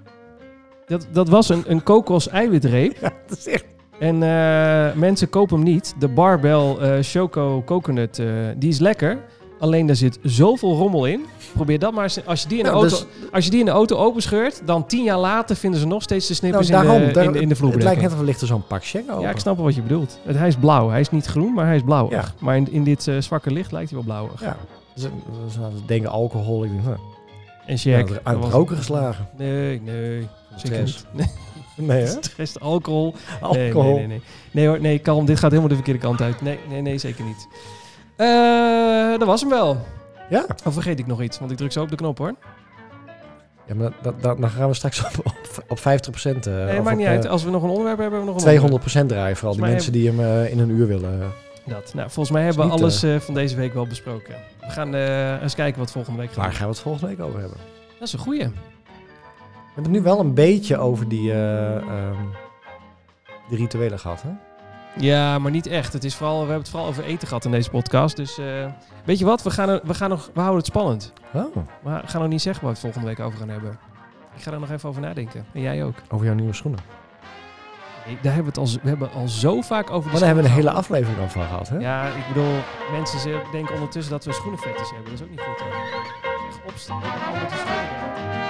S1: Dat, dat was een, een kokos-eiwitreep.
S2: Ja, dat is echt...
S1: En eh, mensen kopen hem niet. De Barbell eh, Choco Coconut, eh, die is lekker. Alleen daar zit zoveel rommel in. Probeer dat maar eens. Als je die in de,
S2: Nou,
S1: auto,
S2: dus-
S1: als je die in de auto openscheurt, dan tien jaar later vinden ze nog steeds de
S2: Nou,
S1: snippers
S2: daarom,
S1: in, de,
S2: daar-
S1: in, de- in de
S2: Het lijkt
S1: vloerbedekking.
S2: net of er ligt er zo'n pak check open.
S1: Ja, ik snap wel wat je bedoelt. Het, hij is blauw. Hij is niet groen, maar hij is blauwig.
S2: Ja.
S1: Maar in, in dit eh, zwakke licht lijkt hij wel blauwig.
S2: Ja. Ze, Dus, nou, ze denken alcohol. Ik denk, nou,
S1: En
S2: ja,
S1: Jack...
S2: aan
S1: dat was-
S2: het roken geslagen.
S1: Nee, nee. Zeker
S2: Stress.
S1: niet. [LAUGHS] Nee,
S2: [LAUGHS] Nee, hè?
S1: stress, alcohol. Nee,
S2: Alcohol.
S1: Nee, nee, nee, nee. hoor, nee, kalm. Dit gaat helemaal de verkeerde kant uit. Nee, nee, nee, zeker niet. Eh, dat was hem wel.
S2: Ja.
S1: Of vergeet ik nog iets? Want ik druk zo op de knop hoor.
S2: Eh, ja, maar dat- dat- dat- dan gaan we straks [LAUGHS] op, op, op 50%. eh,
S1: nee,
S2: of
S1: maakt
S2: op,
S1: niet
S2: eh,
S1: uit. Als we nog een onderwerp hebben, hebben we nog een
S2: 200% draaien. Vooral die
S1: Volgens mij
S2: mensen die hem eh, in een uur willen.
S1: onderwerp. Dat. Nou, volgens mij
S2: Is
S1: hebben we
S2: niet,
S1: alles eh, van deze week wel besproken. We gaan eh, eens kijken wat volgende week gaat.
S2: Waar gaan we het volgende week over hebben?
S1: Dat is een goeie.
S2: We hebben het nu wel een beetje over die, eh, ehm, die rituelen gehad, hè?
S1: Ja, maar niet echt. Het is vooral, we hebben het vooral over eten gehad in deze podcast. Dus eh, weet je wat? We, gaan, er- we, gaan nog, we houden het spannend.
S2: Oh,
S1: We gaan nog niet zeggen waar we het volgende week over gaan hebben. Ik ga er nog even over nadenken. En jij ook.
S2: over jouw nieuwe schoenen. Maar
S1: Nee, daar hebben we, het al, we hebben al zo vaak over
S2: daar hebben we een hele
S1: aflevering.
S2: aflevering al van gehad, hè?
S1: Ja, ik bedoel, mensen ze- denken ondertussen dat we schoenenfetish hebben. Dat is ook niet goed. Hoor. Echt opstaan. allemaal te schoenen.